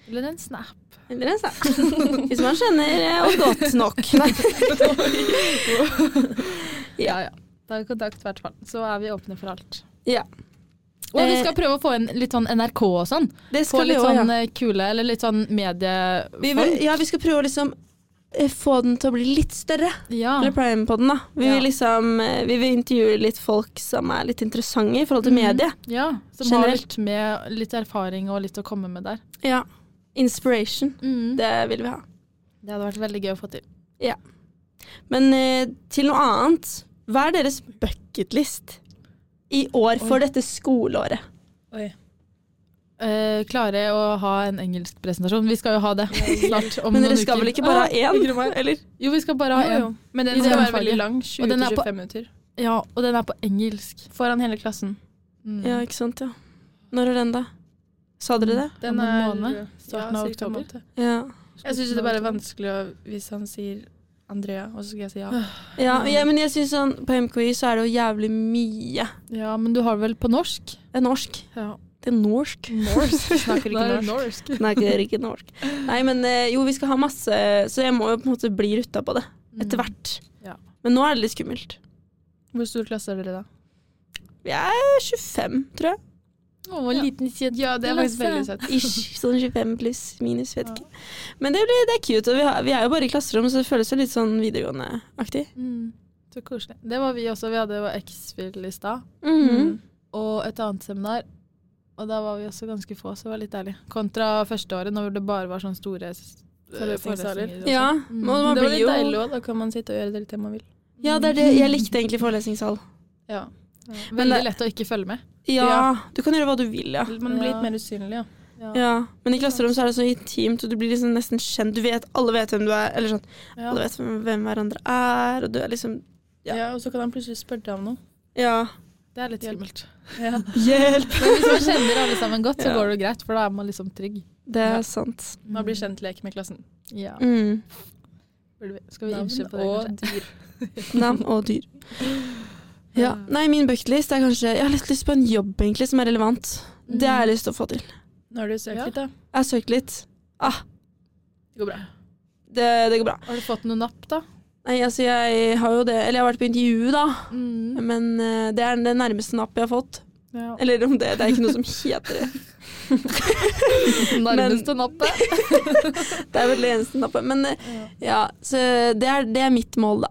Speaker 2: Eller en snap.
Speaker 1: Eller en sak. Hvis man kjenner eh, og godt nok. Nei.
Speaker 2: Ja, ja. Ta kontakt, i hvert fall. Så er vi åpne for alt.
Speaker 1: Ja.
Speaker 2: Og vi
Speaker 1: Eh,
Speaker 2: skal prøve å få inn litt sånn NRK og sånn.
Speaker 1: Det
Speaker 2: Få
Speaker 1: skal vi
Speaker 2: litt
Speaker 1: også,
Speaker 2: sånn
Speaker 1: ja.
Speaker 2: eh, kule, eller litt sånn mediefolk.
Speaker 1: Vi, vil- ja. Vi skal prøve å liksom eh, få den til å bli litt større.
Speaker 2: ja.
Speaker 1: Eller Prime-podden, da. Vi
Speaker 2: Ja.
Speaker 1: vil liksom eh, Vi vil intervjue litt folk som er litt interessante i forhold til
Speaker 2: Mm.
Speaker 1: mediet.
Speaker 2: ja, som har
Speaker 1: Generelt.
Speaker 2: litt, med, litt erfaring og litt å komme med der.
Speaker 1: Ja. Inspiration.
Speaker 2: Det,
Speaker 1: Det vil vi ha.
Speaker 2: det hadde vært veldig gøy å få til.
Speaker 1: Men eh, til noe annet. Hva er deres bucketlist i år for
Speaker 3: Oi.
Speaker 1: dette skoleåret?
Speaker 3: Oi.
Speaker 2: Eh, klare å ha en engelsk presentasjon. Vi skal jo ha det snart om
Speaker 1: Men dere
Speaker 2: noen
Speaker 1: skal
Speaker 2: uker. Ah,
Speaker 1: vel ikke bare ha én? Eller?
Speaker 2: Jo, vi skal bare ha
Speaker 3: Jo,
Speaker 2: en.
Speaker 3: jo. Men
Speaker 2: I
Speaker 3: den skal
Speaker 2: det
Speaker 3: være veldig
Speaker 2: faget.
Speaker 3: lang.
Speaker 2: Og den er på-
Speaker 3: 20-25 minutter.
Speaker 2: Ja, og den er på engelsk.
Speaker 3: Foran hele klassen.
Speaker 2: Mm.
Speaker 1: Ja, ikke sant, ja. Når er den, da? Sa dere det?
Speaker 2: Om en
Speaker 3: Den er
Speaker 2: måned? Starten av
Speaker 3: cirka en
Speaker 2: oktober?
Speaker 3: måned.
Speaker 1: Ja.
Speaker 3: Jeg syns det er bare vanskelig å, hvis han sier Andrea, og så skal jeg si ja.
Speaker 1: Ja, men jeg- men jeg synes sånn, På MKI så er det jo jævlig mye
Speaker 2: Ja, men du har vel på norsk?
Speaker 1: Det er norsk.
Speaker 2: Ja.
Speaker 1: Det er norsk.
Speaker 2: Norsk? Snakker
Speaker 3: Da er
Speaker 2: ikke
Speaker 3: det
Speaker 2: norsk.
Speaker 1: Snakker ikke norsk. Nei, men eh, jo, vi skal ha masse, så jeg må jo på en måte bli rutta på det
Speaker 2: Mm.
Speaker 1: etter
Speaker 3: Mm.
Speaker 1: hvert.
Speaker 2: Ja.
Speaker 1: Men nå er det litt skummelt.
Speaker 3: Hvor stor klasse er dere da?
Speaker 1: Vi er 25, tror jeg.
Speaker 2: Å, liten kjede.
Speaker 3: Ja, det er faktisk
Speaker 2: Klasse.
Speaker 3: veldig søtt.
Speaker 1: Ish, sånn 25 pluss, minus, vet ikke. Men det, blir, det er cute, og vi, har, vi er jo bare i klasserom, så det føles jo litt sånn videregående-aktig.
Speaker 2: Mm. Så koselig. Det var vi også. Vi hadde jo X-Fill i stad.
Speaker 3: Mm.
Speaker 1: Mhm.
Speaker 2: og et annet seminar. Og da var vi også ganske få, så det var litt deilig. Kontra første året, når det bare var sånne store s-
Speaker 3: Forelesningssaler.
Speaker 2: forelesninger. og
Speaker 1: Ja,
Speaker 2: sånn. Mm.
Speaker 1: men man
Speaker 3: Det var
Speaker 1: blir
Speaker 3: litt
Speaker 1: jo
Speaker 3: deilig òg. Da kan man sitte og gjøre det litt det man vil.
Speaker 1: Ja, det er det. Jeg likte egentlig forelesningssal.
Speaker 3: Ja.
Speaker 1: Men
Speaker 2: Veldig
Speaker 1: det-
Speaker 2: lett å ikke følge med.
Speaker 1: Ja,
Speaker 3: Ja.
Speaker 1: du kan gjøre hva du vil, ja.
Speaker 3: Man blir
Speaker 2: Ja.
Speaker 3: litt mer usynlig, ja.
Speaker 1: Ja, men i klasserom så er det så intimt, og du blir liksom nesten kjent. Du vet, alle vet hvem du er, eller sånn,
Speaker 2: Ja.
Speaker 1: alle vet hvem, hvem hverandre er, og du er liksom, Ja.
Speaker 3: ja. Og så kan han plutselig spørre deg om noe.
Speaker 1: ja.
Speaker 2: Det er litt skummelt.
Speaker 3: Ja.
Speaker 1: Hjelp!
Speaker 2: Men hvis man kjenner alle sammen godt, så
Speaker 1: Ja.
Speaker 2: går det greit, for da er man liksom trygg.
Speaker 1: Det er sant.
Speaker 3: Man
Speaker 2: Mm.
Speaker 3: blir kjent-lek med klassen.
Speaker 2: Ja.
Speaker 1: Mm.
Speaker 2: Burde vi- Skal vi
Speaker 3: Navn
Speaker 2: innse på det,
Speaker 3: og
Speaker 2: kanskje? dyr.
Speaker 1: Navn og dyr. Ja, nei, min bucketlist er kanskje, jeg har litt lyst på en jobb egentlig, som er relevant. Det har jeg lyst til å få til.
Speaker 3: Nå har du søkt
Speaker 2: Ja.
Speaker 3: litt, da.
Speaker 1: Jeg har søkt litt. Ah,
Speaker 3: Det går bra.
Speaker 1: det, det går bra.
Speaker 2: Har du fått noe napp, da?
Speaker 1: Nei, altså jeg har jo det Eller jeg har vært på intervju, da.
Speaker 2: Mm.
Speaker 1: Men eh, det er det nærmeste napp jeg har fått.
Speaker 2: Ja.
Speaker 1: Eller om det, det er ikke noe som heter det.
Speaker 2: Nærmeste nappet.
Speaker 1: Det er vel det eneste nappet. Men eh, ja, så det er, det er mitt mål, da.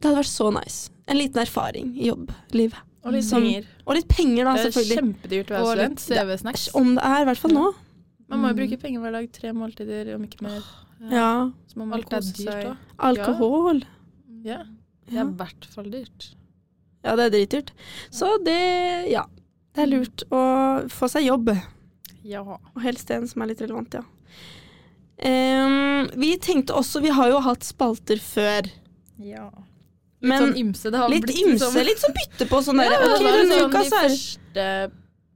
Speaker 1: Det hadde vært så nice. En liten erfaring i jobblivet.
Speaker 3: Og litt
Speaker 1: Som-
Speaker 3: penger.
Speaker 1: Og litt penger, da,
Speaker 3: Det er
Speaker 1: selvfølgelig.
Speaker 3: kjempedyrt å
Speaker 2: Og
Speaker 3: være
Speaker 2: litt
Speaker 3: student.
Speaker 2: CV-snacks.
Speaker 1: Om det er, i hvert fall nå.
Speaker 3: Man må jo bruke penger hver dag. Tre måltider, om ikke mer.
Speaker 1: Ja.
Speaker 3: Så man må
Speaker 2: Alt er
Speaker 3: kose
Speaker 2: dyrt
Speaker 3: seg.
Speaker 2: òg.
Speaker 1: Alkohol.
Speaker 3: Ja.
Speaker 2: Det
Speaker 1: Ja.
Speaker 2: er i hvert fall dyrt.
Speaker 1: ja, det er dritdyrt. Så det Ja. Det er lurt å få seg jobb.
Speaker 2: Ja.
Speaker 1: Og helst en som er litt relevant, ja. Ehm, vi tenkte også Vi har jo hatt spalter før.
Speaker 3: ja.
Speaker 1: Men
Speaker 2: sånn ymse, det har
Speaker 1: litt
Speaker 2: blitt
Speaker 1: ymse,
Speaker 2: liksom-
Speaker 1: litt sånn bytte på sånn der.
Speaker 3: Ja,
Speaker 1: Ok,
Speaker 3: det var
Speaker 1: denne
Speaker 3: sånn
Speaker 1: uka
Speaker 3: de
Speaker 1: så er
Speaker 3: første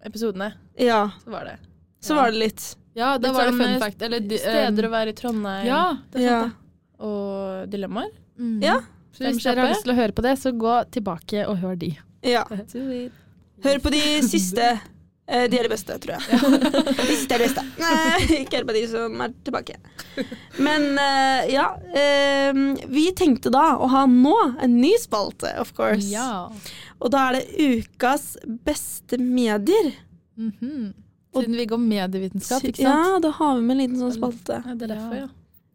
Speaker 3: episodene.
Speaker 1: Ja,
Speaker 3: Så var det.
Speaker 1: så
Speaker 2: Ja.
Speaker 1: var det litt.
Speaker 2: Ja, da
Speaker 3: Litt
Speaker 2: var det
Speaker 3: sånn,
Speaker 2: fun
Speaker 3: eh,
Speaker 2: fact. Eller de-
Speaker 3: Steder å være i Trondheim
Speaker 2: Ja.
Speaker 1: Ja.
Speaker 3: og dilemmaer.
Speaker 2: Mm.
Speaker 1: Ja.
Speaker 2: Så hvis
Speaker 3: Fem
Speaker 2: dere har
Speaker 3: kjappe.
Speaker 2: lyst til å høre på det, så gå tilbake og hør de.
Speaker 3: Mm.
Speaker 1: ja.
Speaker 3: Do it.
Speaker 1: Hør på de siste. Eh, de er de beste, tror jeg. De siste er de beste. Nei, ikke hør på de som er tilbake. Men eh, ja. eh, vi tenkte da å ha nå en ny spalte, of course. Og da er det ukas beste medier.
Speaker 2: Mhm.
Speaker 1: Og-
Speaker 2: Siden vi går medievitenskap, ikke sant?
Speaker 1: Ja, da har vi med en liten sånn spalte.
Speaker 3: Ja, det er derfor,
Speaker 2: Ja.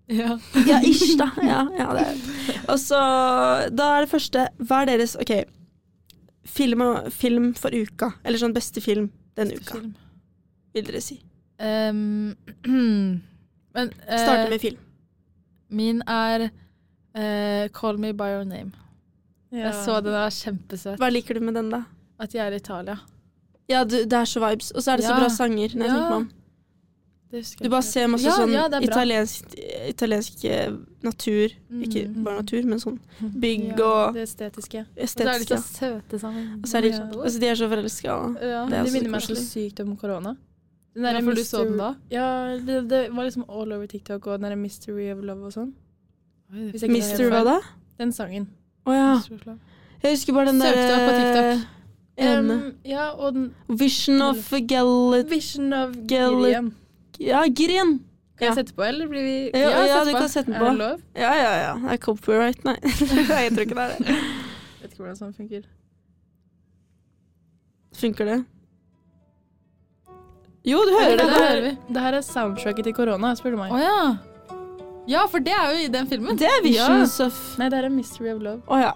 Speaker 3: ja.
Speaker 2: Ja.
Speaker 1: Ja, ish, da. Ja, ja, det er. Og så, da er det første Hva er deres OK, film, og- film for uka? Eller sånn beste film den uka,
Speaker 2: Film.
Speaker 1: vil dere si.
Speaker 2: Ehm, men eh,
Speaker 1: Starte med film.
Speaker 2: min er eh, 'Call Me By Your Name'.
Speaker 3: ja.
Speaker 2: Jeg så den, den var kjempesøt.
Speaker 1: Hva liker du med den, da?
Speaker 2: At jeg er i Italia.
Speaker 1: Ja, du, Det er så vibes. Og så er det så
Speaker 2: Ja.
Speaker 1: bra sanger. Når jeg
Speaker 2: Ja.
Speaker 1: tenker meg om.
Speaker 2: Det husker jeg
Speaker 1: Du bare
Speaker 2: ikke.
Speaker 1: ser masse
Speaker 2: Ja,
Speaker 1: sånn
Speaker 2: ja, det er bra.
Speaker 1: italiensk, italiensk eh, natur. Ikke
Speaker 2: Mm.
Speaker 1: bare natur, men sånn bygg
Speaker 3: Ja,
Speaker 1: og
Speaker 3: Det
Speaker 2: Og
Speaker 3: estetiske.
Speaker 2: så er sånn de
Speaker 1: estetisk.
Speaker 2: så
Speaker 1: ja.
Speaker 2: søte sammen.
Speaker 1: Og så er de,
Speaker 3: Ja.
Speaker 1: altså, de er så forelska.
Speaker 2: Ja,
Speaker 1: Det er
Speaker 3: Det,
Speaker 1: så
Speaker 3: minner meg så
Speaker 1: koselig.
Speaker 3: sykt om korona. Den
Speaker 2: ja,
Speaker 3: der
Speaker 2: for du
Speaker 3: Mr.
Speaker 2: så den da?
Speaker 3: Ja, det, det var liksom all over TikTok og den derre Mystery of Love og sånn. Hvis jeg ikke tar
Speaker 1: Mister
Speaker 3: helt
Speaker 1: hva
Speaker 3: feil.
Speaker 1: da?
Speaker 3: Den sangen.
Speaker 1: Å ja.
Speaker 2: Ja.
Speaker 1: Jeg husker bare den der
Speaker 2: Søkte deg på TikTok.
Speaker 1: eh, ene.
Speaker 3: Um, ja, og den
Speaker 1: Vision of a Gallet...
Speaker 3: Vision of
Speaker 1: Gale-
Speaker 3: Gilliam.
Speaker 1: Ja, Gren!
Speaker 3: Kan
Speaker 1: Ja.
Speaker 3: jeg sette på, eller blir vi
Speaker 1: Ja, ja,
Speaker 2: sett
Speaker 1: du
Speaker 2: på.
Speaker 1: kan sette den
Speaker 3: Er det
Speaker 1: på.
Speaker 3: lov?
Speaker 1: Ja, ja, ja. Det er copyright, nei. jeg tror ikke det er det.
Speaker 3: Vet ikke hvordan sånn funker.
Speaker 1: Funker det? Jo, du hører
Speaker 2: det
Speaker 1: det.
Speaker 2: der hører vi.
Speaker 3: Det her er soundtracket til korona, spør du meg.
Speaker 2: Å ja. Ja, for det er jo i den filmen.
Speaker 1: Det er Visions of
Speaker 3: Nei, det her er Mystery of Love.
Speaker 1: Å ja.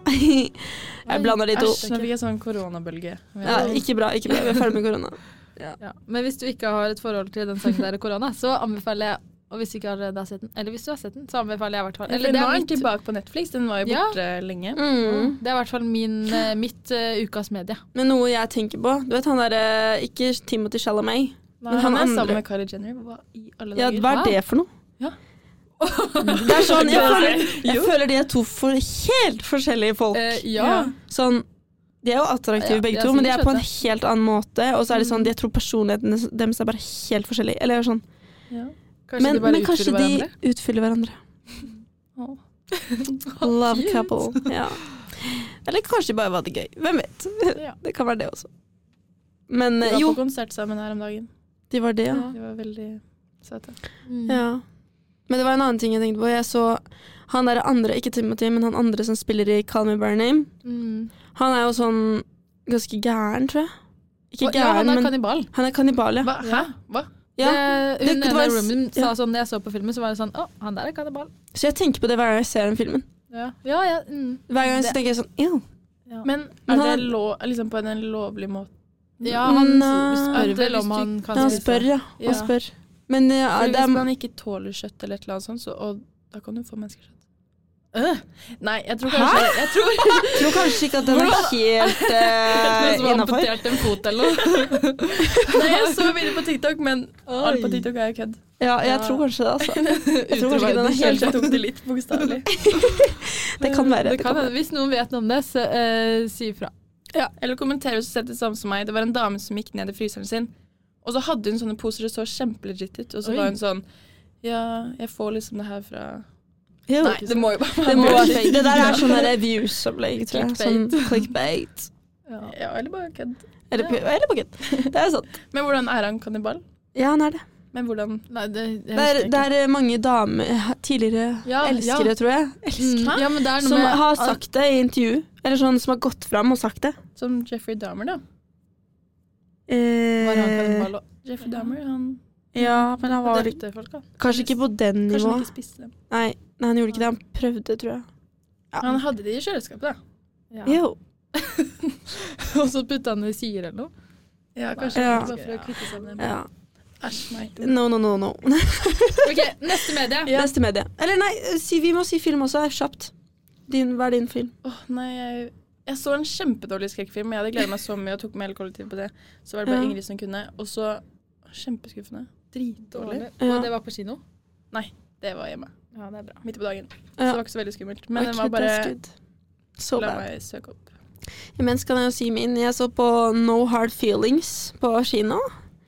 Speaker 1: Jeg blander de to.
Speaker 3: Æsj, nå fikk jeg sånn koronabølge.
Speaker 1: Ja, ikke bra, ikke bra. Vi er ferdig med korona.
Speaker 2: Ja. Men hvis du ikke har et forhold til den sangen der i korona, så anbefaler jeg Og hvis du ikke allerede har sett den, eller hvis du har sett den, så anbefaler jeg i hvert fall Eller det
Speaker 3: nå
Speaker 2: er,
Speaker 3: er den
Speaker 2: mitt,
Speaker 3: tilbake på Netflix, den var jo
Speaker 2: Ja.
Speaker 3: borte lenge.
Speaker 1: Mm.
Speaker 2: det er i hvert fall min, eh, mitt eh, ukas medie.
Speaker 1: Men noe jeg tenker på Du vet han derre Ikke Timothy Chalamet.
Speaker 3: Nei,
Speaker 1: Men
Speaker 3: han,
Speaker 1: han
Speaker 3: er
Speaker 1: andre-
Speaker 3: sammen med Kylie Jenner. Hva i alle
Speaker 1: Ja,
Speaker 3: dager?
Speaker 1: hva er det for noe?
Speaker 2: Ja.
Speaker 1: Det er sånn Jeg føler, jeg
Speaker 3: Jo.
Speaker 1: føler de er to for helt forskjellige folk.
Speaker 2: Eh,
Speaker 3: Ja.
Speaker 1: sånn De er jo attraktive
Speaker 2: Ja,
Speaker 1: begge
Speaker 2: de er
Speaker 1: to, men de er
Speaker 2: sikkert
Speaker 1: på en helt annen måte. Og så er det sånn, jeg tror personlighetene deres er bare helt forskjellige. Eller sånn.
Speaker 3: Ja.
Speaker 2: Kanskje
Speaker 1: Men,
Speaker 2: de bare
Speaker 1: men kanskje
Speaker 2: utfyller
Speaker 1: de
Speaker 2: hverandre?
Speaker 1: utfyller hverandre.
Speaker 3: Å.
Speaker 1: Love couple. Ja. Eller kanskje de bare var det gøy. Hvem vet?
Speaker 3: Ja.
Speaker 1: Det kan være det også. Men
Speaker 3: Vi
Speaker 1: eh,
Speaker 3: var
Speaker 1: jo,
Speaker 3: på konsert sammen her om dagen.
Speaker 1: de var det, ja.
Speaker 3: De var veldig søte.
Speaker 2: Mm.
Speaker 1: ja. Men det var en annen ting jeg tenkte på. Jeg så han der andre, ikke Timothy, men han andre som spiller i Call Me By Your Name.
Speaker 2: Mm.
Speaker 1: Han er jo sånn ganske gæren, tror jeg. Ikke
Speaker 2: Og, ja,
Speaker 1: gæren,
Speaker 2: han er
Speaker 1: men
Speaker 2: kannibal.
Speaker 1: han er kannibal, ja.
Speaker 3: Hva? Hæ? Hva?
Speaker 1: ja.
Speaker 2: Det, hun
Speaker 1: det var en
Speaker 2: ene i
Speaker 1: s-
Speaker 2: roomien
Speaker 1: ja.
Speaker 2: sa sånn når jeg så på filmen, så var det sånn Å, han der er kannibal.
Speaker 1: Så jeg tenker på det hver gang jeg ser den filmen.
Speaker 2: Ja, ja. ja mm.
Speaker 1: Hver gang så
Speaker 2: Det-
Speaker 1: tenker jeg sånn Ew.
Speaker 2: Ja.
Speaker 3: Men
Speaker 1: Men
Speaker 3: er det
Speaker 1: han-
Speaker 3: lov, liksom på en lovlig måte? Mm.
Speaker 2: ja, han
Speaker 1: Nei.
Speaker 2: spør
Speaker 3: At
Speaker 2: vel
Speaker 3: hvis
Speaker 2: om
Speaker 3: du-
Speaker 2: han kan
Speaker 1: Ja, han
Speaker 2: spise.
Speaker 1: spør, ja.
Speaker 3: Ja.
Speaker 1: Han spør. Men ja,
Speaker 3: Fordi
Speaker 1: det
Speaker 3: hvis
Speaker 1: er
Speaker 3: man ikke tåler kjøtt eller et eller annet sånt, så og, da kan du få menneskekjøtt.
Speaker 2: Øh,
Speaker 3: Nei, jeg tror kanskje jeg tror,
Speaker 1: Jeg tror kanskje ikke at den er helt
Speaker 2: noen
Speaker 1: uh,
Speaker 2: som har
Speaker 1: innafor.
Speaker 2: amputert en fot eller noe.
Speaker 3: Nei, jeg så bilder på TikTok, men alt
Speaker 2: Oi.
Speaker 3: på TikTok er jo kødd.
Speaker 1: Ja, jeg tror kanskje det, altså. Jeg tror kanskje ikke den er helt
Speaker 3: Kanskje jeg tok det litt bokstavelig.
Speaker 1: Det kan være.
Speaker 2: Mm, Det kan hende. Hvis noen vet noe om det, så eh, si ifra.
Speaker 3: Eller kommentere hvis du ser det samme som meg. Det var en dame som gikk ned i fryseren sin, og så hadde hun sånne poser, det så kjempelegit ut, og så
Speaker 2: Oi.
Speaker 3: var hun sånn Ja, jeg får liksom det her fra
Speaker 1: Jo,
Speaker 3: Nei, det må jo bare
Speaker 1: det, må være fake. det der er sånn der views-opplegg, tror jeg. Sånn clickbait.
Speaker 3: Ja, eller bare kødd.
Speaker 1: Eller, eller på kødd. Det er sant.
Speaker 3: Men hvordan er han kannibal?
Speaker 1: Ja, han er det.
Speaker 3: Men hvordan
Speaker 2: Nei, det, jeg
Speaker 1: Det er,
Speaker 2: husker
Speaker 1: det
Speaker 2: ikke.
Speaker 1: er eh, mange damer, tidligere
Speaker 2: Ja, ja.
Speaker 1: elskere, tror jeg,
Speaker 2: Mm, ja, men det er noe
Speaker 1: som
Speaker 2: med
Speaker 1: har sagt det i intervju. Eller sånn som har gått fram og sagt det.
Speaker 3: Som Jeffrey Dahmer, da.
Speaker 2: Var han
Speaker 1: Eh,
Speaker 2: kannibal også?
Speaker 3: Jeffrey Dahmer, han
Speaker 1: ja, men han var
Speaker 3: drepte folk, da.
Speaker 1: kanskje ikke på den
Speaker 3: Kanskje
Speaker 1: nivå.
Speaker 3: han ikke spiste dem.
Speaker 1: Nei, nei, han gjorde ikke det. Han prøvde, tror jeg. Ja.
Speaker 3: Han hadde de i kjøleskapet, da.
Speaker 2: Ja.
Speaker 1: Jo.
Speaker 2: Og så putta han det i syre eller noe.
Speaker 3: Ja,
Speaker 1: kanskje
Speaker 3: kanskje
Speaker 1: Ja.
Speaker 3: bare
Speaker 2: bare
Speaker 3: for
Speaker 2: for
Speaker 3: å kvitte seg med dem.
Speaker 1: Ja.
Speaker 3: Æsj, nei.
Speaker 1: No, no, no, no.
Speaker 2: Ok, Neste medie.
Speaker 1: Neste medie. Eller nei, si, vi må si film også. Kjapt. Din, hva er din film?
Speaker 3: Åh, nei, jeg, jeg så en kjempedårlig skrekkfilm. Jeg hadde gledet meg så mye og tok med hele kollektivet på det. Så var det bare
Speaker 1: Ja.
Speaker 3: Ingrid som kunne. Og så Kjempeskuffende. Dritdårlig.
Speaker 1: Ja.
Speaker 2: Og det var på kino.
Speaker 3: Det var hjemme.
Speaker 2: Ja, det er bra.
Speaker 3: Midt på dagen. Så
Speaker 1: Ja.
Speaker 3: det var ikke så veldig skummelt. Men den
Speaker 1: Wicked
Speaker 3: var bare
Speaker 1: That's Good. Så
Speaker 3: La
Speaker 1: bad.
Speaker 3: meg søke opp.
Speaker 1: Imens kan jeg jo si min. Jeg så på No Hard Feelings på kino.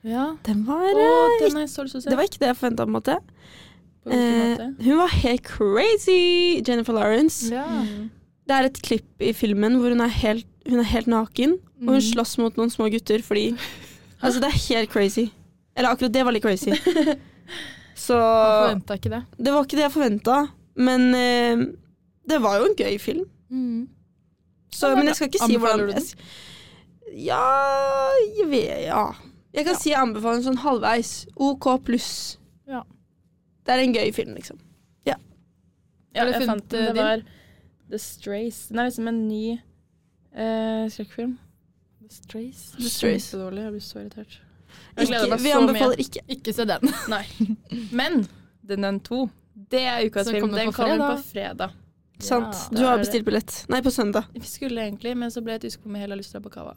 Speaker 2: Ja.
Speaker 1: Den var
Speaker 3: Å,
Speaker 1: eh,
Speaker 3: den er så så søt.
Speaker 1: Det var ikke det jeg forventa, på en måte.
Speaker 3: På hvilken måte?
Speaker 1: Eh, hun var helt crazy, Jennifer Lawrence.
Speaker 2: ja.
Speaker 3: Mm.
Speaker 1: Det er et klipp i filmen hvor hun er helt, hun er helt naken, og hun
Speaker 3: Mhm.
Speaker 2: Mm.
Speaker 1: slåss mot noen små gutter fordi Altså, det er helt crazy. Eller akkurat det var litt crazy. Så
Speaker 2: Jeg forventa ikke det.
Speaker 1: Det var ikke det jeg forventa, men eh, det var jo en gøy film. Så,
Speaker 2: Ja,
Speaker 1: men
Speaker 2: bra.
Speaker 1: jeg skal ikke si
Speaker 2: Anbefaler
Speaker 1: hvordan
Speaker 2: du den?
Speaker 1: jeg sk- Ja jeg, vet, ja. jeg kan si jeg anbefaler den sånn halvveis. OK pluss.
Speaker 2: Ja.
Speaker 1: Det er en gøy film, liksom.
Speaker 3: Ja,
Speaker 2: Har du
Speaker 3: jeg
Speaker 2: funnet,
Speaker 3: fant den.
Speaker 2: eh,
Speaker 3: Det var The Strays. Den er liksom en ny eh, skrekkfilm.
Speaker 2: The Strays.
Speaker 1: The Strays.
Speaker 3: Kjempedårlig. Jeg blir så irritert. Jeg gleder
Speaker 1: Ikke,
Speaker 3: meg
Speaker 1: vi
Speaker 3: så mye.
Speaker 1: anbefaler ikke.
Speaker 2: Ikke se den.
Speaker 3: Men Den den to, det er ukas
Speaker 2: Så
Speaker 3: film.
Speaker 2: kommer
Speaker 3: Den
Speaker 2: på
Speaker 3: kommer
Speaker 2: fredag.
Speaker 3: på fredag.
Speaker 1: Sant.
Speaker 2: Ja.
Speaker 1: du
Speaker 3: Da er
Speaker 1: har
Speaker 3: det-
Speaker 1: bestilt billett. Nei, på søndag.
Speaker 3: Vi skulle egentlig, men så ble jeg tysk på med hele lysta på cava.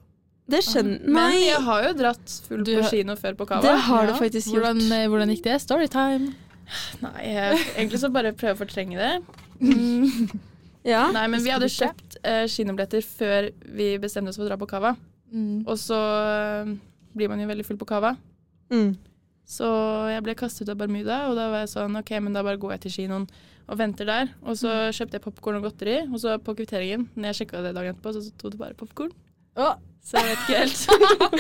Speaker 1: Det skjønner
Speaker 3: Men
Speaker 1: Nei,
Speaker 3: jeg har jo dratt full
Speaker 2: Du
Speaker 3: på
Speaker 2: har-
Speaker 3: kino før på
Speaker 1: det
Speaker 3: cava.
Speaker 1: har du
Speaker 2: Ja.
Speaker 1: faktisk gjort.
Speaker 2: hvordan, eh, hvordan gikk det? Storytime.
Speaker 3: Nei, jeg, egentlig så bare prøve å fortrenge det.
Speaker 2: Mm.
Speaker 1: Ja.
Speaker 3: Nei, men vi hadde
Speaker 2: Husker du
Speaker 3: kjøpt eh, kinobilletter før vi bestemte oss for å dra på cava.
Speaker 2: Mm.
Speaker 3: Og så eh, blir man jo veldig full på cava.
Speaker 1: Mm.
Speaker 3: Så jeg ble kastet ut av Bermuda, og da var jeg sånn OK, men da bare går jeg til kinoen og venter der. Og så
Speaker 2: Mm.
Speaker 3: kjøpte jeg popkorn og godteri, og så på kvitteringen, når jeg sjekka det dagen etterpå, så sto det bare popkorn.
Speaker 2: Å,
Speaker 3: Så jeg vet ikke helt.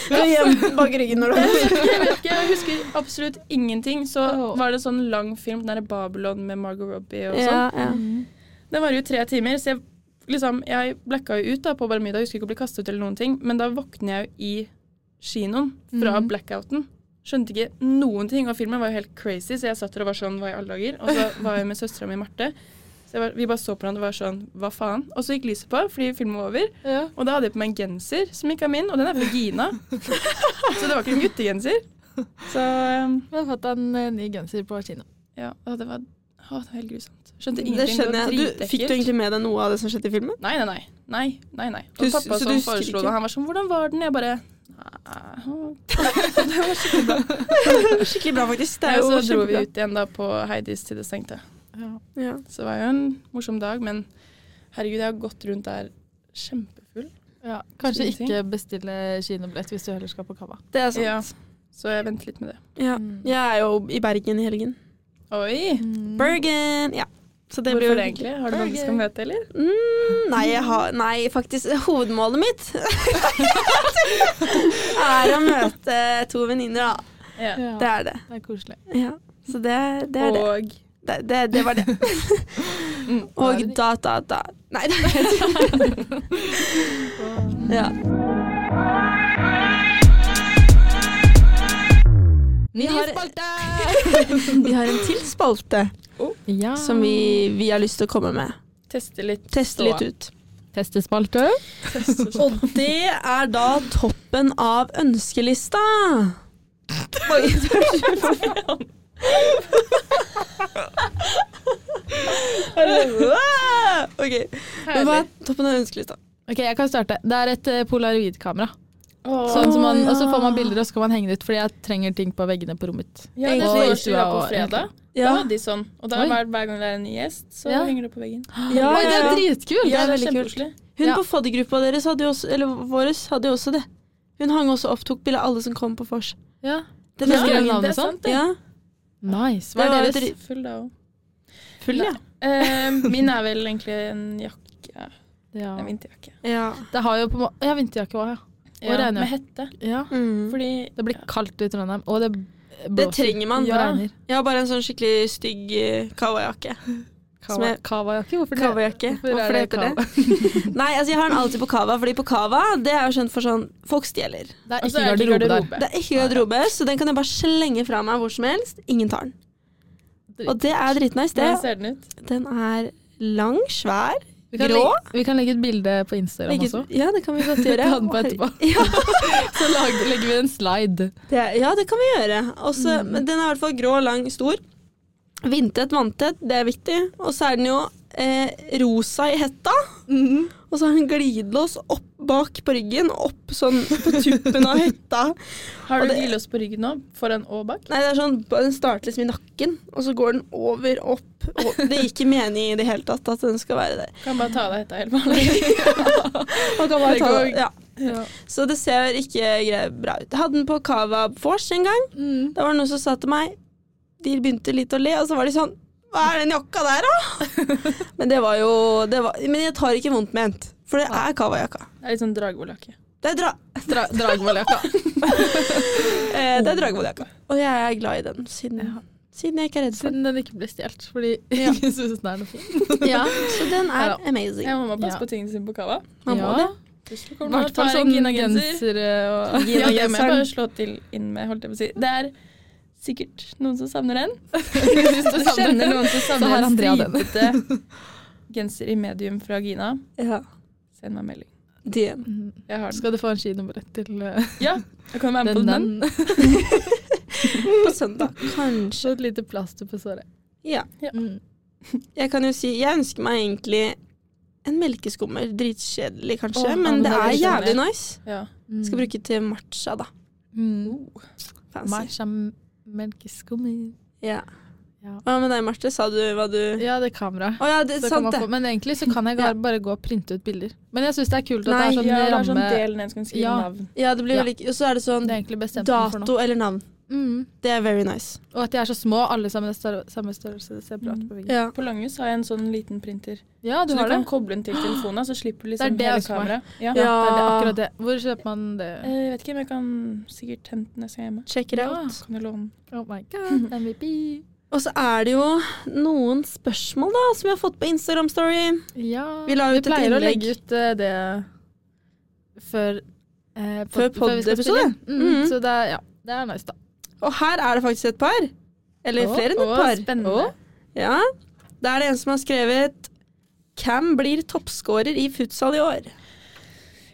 Speaker 1: Du er hjemme bak ryggen når du
Speaker 3: Jeg vet ikke, jeg husker absolutt ingenting. Så
Speaker 2: Åh.
Speaker 3: var det sånn lang film, den derre Babylon med Margot Robbie og
Speaker 1: ja,
Speaker 3: sånn.
Speaker 1: ja.
Speaker 3: Den varer jo tre timer, så jeg, liksom, jeg blacka jo ut da på Bermuda. Jeg husker ikke å bli kastet ut eller noen ting, men da våkner jeg jo i kinoen fra
Speaker 2: Mhm.
Speaker 3: blackouten. Skjønte ikke noen ting, og filmen var jo helt crazy, så jeg satt der og var sånn hva i alle dager. Og så var jeg med søstera mi Marte. Så jeg var, vi bare så på hverandre og var sånn hva faen? Og så gikk lyset på fordi filmen var over.
Speaker 2: Ja.
Speaker 3: Og da hadde jeg på meg en genser som ikke er min, og den er fra Gina. så det var ikke en guttegenser. Så um,
Speaker 2: Vi har fått en eh, ny genser på kino.
Speaker 3: ja, å, det var å, det var helt grusomt. Skjønte ingenting.
Speaker 1: Det skjønner
Speaker 3: var
Speaker 1: jeg. Du, fikk
Speaker 3: dritekkelt.
Speaker 1: du egentlig med deg noe av det som skjedde i filmen?
Speaker 3: Nei, nei, nei. Nei, nei, nei. Og
Speaker 1: Du-
Speaker 3: pappa
Speaker 1: så
Speaker 3: som
Speaker 1: du husker
Speaker 3: foreslo
Speaker 1: ikke?
Speaker 3: det, han var sånn 'Hvordan var den?' Jeg bare «Nei».
Speaker 1: Skikkelig bra, faktisk. Det er jo
Speaker 3: Og så dro vi
Speaker 1: kjempebra.
Speaker 3: ut igjen da på Heidis til det stengte.
Speaker 2: Ja.
Speaker 1: Ja.
Speaker 3: Så det var jo en morsom dag, men herregud, jeg har gått rundt der kjempefull.
Speaker 2: Ja, kanskje
Speaker 3: Ingenting.
Speaker 2: ikke bestille kinobillett hvis du heller skal på Mm. kava.
Speaker 1: Det er sant.
Speaker 3: Ja. Så jeg venter litt med det.
Speaker 1: Ja. Jeg er jo i Bergen i helgen.
Speaker 3: Oi!
Speaker 2: Mm.
Speaker 1: Bergen! Ja. Så det blir
Speaker 3: Mm. Hvorfor
Speaker 1: jo
Speaker 3: det egentlig? Har du noen du skal møte, eller?
Speaker 1: Mm, nei, jeg har, nei, faktisk. Hovedmålet mitt er å møte to venninner, da.
Speaker 3: Ja.
Speaker 2: Ja,
Speaker 1: Det er det.
Speaker 2: det er koselig.
Speaker 1: Ja. Så det, det er det.
Speaker 3: Og
Speaker 1: Det, det. Det var det.
Speaker 3: mm.
Speaker 1: Og da, da, da. Nei, det er ja. Vi har, vi har en til spalte
Speaker 2: Ja.
Speaker 1: som vi, vi har lyst til å komme med.
Speaker 3: teste litt.
Speaker 1: Teste litt ut.
Speaker 2: Testespalte.
Speaker 1: Og det er da toppen av ønskelista. Oi, OK. Men hva er toppen av ønskelista?
Speaker 2: Ok, jeg kan starte. Det er et eh, polaroidkamera.
Speaker 3: Åh.
Speaker 2: Sånn som man,
Speaker 1: ja.
Speaker 2: Og så får man bilder, og så kan man henge det ut. Fordi jeg trenger ting på veggene på rommet mitt.
Speaker 3: Ja, det
Speaker 1: Og
Speaker 3: står
Speaker 2: i
Speaker 3: stua
Speaker 2: stua
Speaker 3: på
Speaker 2: og-
Speaker 3: fredag. Da
Speaker 1: Ja,
Speaker 3: hadde de sånn. Og da
Speaker 2: Oi.
Speaker 3: hver, hver gang det er en ny gjest, så
Speaker 2: Ja.
Speaker 3: henger det på veggen.
Speaker 1: ja,
Speaker 2: Oi, det er
Speaker 1: ja.
Speaker 2: dritkult!
Speaker 1: Ja,
Speaker 3: det er
Speaker 1: veldig kult.
Speaker 3: kjempekoselig.
Speaker 1: Hun
Speaker 2: Ja.
Speaker 1: på faddergruppa deres hadde jo også, eller våres hadde jo også det. Hun hang også opp, tok bilde av alle som kom på vors.
Speaker 2: Ja.
Speaker 1: Den
Speaker 2: Ja,
Speaker 1: gangen.
Speaker 2: navnet
Speaker 3: det
Speaker 2: sånn?
Speaker 3: er sant, det.
Speaker 1: Ja.
Speaker 2: Nice.
Speaker 1: Det
Speaker 2: Hva
Speaker 1: var
Speaker 2: er
Speaker 1: jo
Speaker 2: deres?
Speaker 1: dri-
Speaker 3: Full da òg.
Speaker 1: Full, ja.
Speaker 3: Eh, min er vel egentlig en jakke.
Speaker 2: Ja.
Speaker 3: En vinterjakke.
Speaker 1: ja.
Speaker 2: Det har jo på en måte Ja, vinterjakke òg, ja.
Speaker 3: Og
Speaker 2: Ja.
Speaker 3: regner med hette.
Speaker 2: Ja.
Speaker 3: Fordi
Speaker 2: Det blir kaldt i Trondheim, og det blåser.
Speaker 1: Det trenger man.
Speaker 2: Ja. regner.
Speaker 1: Jeg har bare en sånn skikkelig stygg eh, kawajakke. Som
Speaker 2: Kawa-
Speaker 1: er-
Speaker 2: Kawajakke, hvorfor det?
Speaker 1: Kawajakke.
Speaker 2: er
Speaker 1: Hvorfor det heter det? Nei, altså jeg har den alltid på kava, fordi på kava det er jo kjent for sånn Folk stjeler.
Speaker 2: Det er
Speaker 3: Og så
Speaker 2: ikke
Speaker 3: er det ikke
Speaker 2: garderobe der.
Speaker 3: garderobe.
Speaker 1: Det er ikke garderobe, så den kan jeg bare slenge fra meg hvor som helst. Ingen tar den.
Speaker 2: Drit.
Speaker 1: Og det er dritnice,
Speaker 3: Hvordan
Speaker 1: det.
Speaker 3: ser den ut?
Speaker 1: Den er lang, svær.
Speaker 2: Vi kan,
Speaker 1: Grå?
Speaker 2: legge, vi kan legge et bilde på Instagram også.
Speaker 1: Ja, det kan vi godt gjøre.
Speaker 2: Ta den på etterpå.
Speaker 1: Ja,
Speaker 2: Så lag, legger vi en slide.
Speaker 1: det, ja, det kan vi gjøre. Også,
Speaker 2: Mm.
Speaker 1: Men den er i hvert fall grå, lang, stor. Vindtett, vanntett, det er viktig. Og så er den jo eh, rosa i hetta. Og så har den glidelås opp bak på ryggen, opp sånn på tuppen av hetta.
Speaker 3: Har
Speaker 1: Og
Speaker 3: du
Speaker 1: det-
Speaker 3: glidelås på ryggen nå? Foran og bak?
Speaker 1: Nei, det er sånn, Den starter liksom i nakken, og så går den over, opp. Og det gir ikke mening i det hele tatt at den skal være der.
Speaker 3: Kan bare ta av deg hetta helt vanlig.
Speaker 1: Man kan bare
Speaker 3: Det
Speaker 1: ta
Speaker 3: går-
Speaker 1: det. Ja. Så det ser ikke gre- bra ut. Jeg hadde den på Cava Vors en gang.
Speaker 2: Mm.
Speaker 1: Da var det noen som sa til meg De begynte litt å le, og så var de sånn Hva er den jakka der, da? men det var jo det var, Men jeg tar ikke vondt ment, for det er Cava-jakka.
Speaker 3: Det er litt sånn dragvolljakke.
Speaker 1: Det er, dra,
Speaker 2: Dra, Dragvolljakka.
Speaker 1: eh, det er Dragvoll-jakka. Og jeg er glad i den, siden, siden jeg ikke er redd for den.
Speaker 2: Siden den ikke ble stjålet, fordi ingen synes den er noe fin.
Speaker 1: Ja, så den er
Speaker 2: Ja.
Speaker 1: amazing.
Speaker 3: Jeg må mamma passe
Speaker 2: Ja.
Speaker 3: på tingene sine på kava.
Speaker 1: Man må det.
Speaker 3: Plutselig
Speaker 2: I
Speaker 3: kommer noen og
Speaker 2: hvert fall
Speaker 3: tar en
Speaker 2: sånn
Speaker 3: Gina-genser.
Speaker 2: gensere og
Speaker 3: Ja, det må jeg
Speaker 1: Gina-genseren.
Speaker 3: bare slå til inn med, holdt jeg på å si. Det er sikkert noen som savner den.
Speaker 2: Hvis
Speaker 3: Du kjenner noen som
Speaker 2: Så har
Speaker 3: savner en
Speaker 2: Andrea den.
Speaker 3: stripete genser i medium fra Gina.
Speaker 1: Ja.
Speaker 3: Send meg melding.
Speaker 1: DM.
Speaker 3: Jeg har den.
Speaker 2: Mhm. Skal du få en skinummeret til eh,
Speaker 3: Ja, jeg kan være med på
Speaker 2: den?
Speaker 3: den.
Speaker 2: den.
Speaker 1: På søndag. Kanskje.
Speaker 2: Så et lite plaster på såret.
Speaker 1: Ja.
Speaker 2: Mm.
Speaker 1: Jeg kan jo si Jeg ønsker meg egentlig en melkeskummer. Dritkjedelig, kanskje,
Speaker 2: Åh,
Speaker 1: men
Speaker 2: ja,
Speaker 1: det
Speaker 2: men det
Speaker 1: er
Speaker 2: er
Speaker 1: jævlig
Speaker 3: skjønner.
Speaker 1: nice.
Speaker 3: Ja.
Speaker 2: Mm.
Speaker 1: Skal bruke til matcha, da.
Speaker 2: mm.
Speaker 1: Fancy.
Speaker 2: Matcha melkeskummi.
Speaker 1: Ja.
Speaker 2: Ja.
Speaker 1: Hva med deg, Marte? Sa du hva du Å
Speaker 2: Ja, det er kamera.
Speaker 1: ja, det
Speaker 2: Så
Speaker 1: er
Speaker 2: kan
Speaker 1: sant,
Speaker 2: man
Speaker 1: det.
Speaker 2: få, men egentlig så kan jeg bare, bare gå og printe ut bilder. Men jeg syns det er kult at
Speaker 1: Nei,
Speaker 2: det er sånn
Speaker 3: ja, det
Speaker 2: ramme
Speaker 3: er sånn del ned, så kan du skrive
Speaker 2: Ja.
Speaker 3: navn.
Speaker 1: Ja, det blir
Speaker 2: Ja.
Speaker 1: veldig Og så er det sånn
Speaker 2: Det er egentlig bestemt meg for nå.
Speaker 1: dato eller navn.
Speaker 2: Mm.
Speaker 1: Det er very nice.
Speaker 2: Og at de er så små, alle sammen er større, samme størrelse. Det ser bra ut på veggen.
Speaker 1: Ja.
Speaker 3: På Langhus har jeg en sånn liten printer.
Speaker 2: Ja, du
Speaker 3: så du
Speaker 2: har det?
Speaker 3: kan koble den til telefonen, så slipper du
Speaker 2: Det er
Speaker 3: liksom
Speaker 2: det jeg
Speaker 3: hele
Speaker 2: ønsker meg.
Speaker 3: kameraet. Ja.
Speaker 2: Ja, det er det,
Speaker 1: Ja.
Speaker 2: akkurat det. Hvor kjøper man det?
Speaker 3: Eh, Jeg vet ikke, men jeg kan sikkert hente den neste gang jeg er hjemme.
Speaker 1: Check it
Speaker 2: Ja.
Speaker 1: out.
Speaker 3: Kan jeg låne den?
Speaker 2: Oh my god, MVP.
Speaker 1: Og så er det jo noen spørsmål da som vi har fått på Instagram Story.
Speaker 2: Ja.
Speaker 1: Vi la ut et
Speaker 2: pleier å
Speaker 1: innlegg.
Speaker 2: legge ut eh, det før eh, pod-
Speaker 1: Før
Speaker 2: vi skal spille
Speaker 1: podd-episode.
Speaker 2: inn. Mm,
Speaker 1: Mhm.
Speaker 2: Så det er, ja, det er nice, da.
Speaker 1: Og her er det faktisk et par. Eller
Speaker 2: Å,
Speaker 1: flere enn
Speaker 3: Å,
Speaker 1: et par.
Speaker 3: spennende.
Speaker 2: Å.
Speaker 1: Ja. Da er det en som har skrevet Cam blir toppscorer i futsal i år.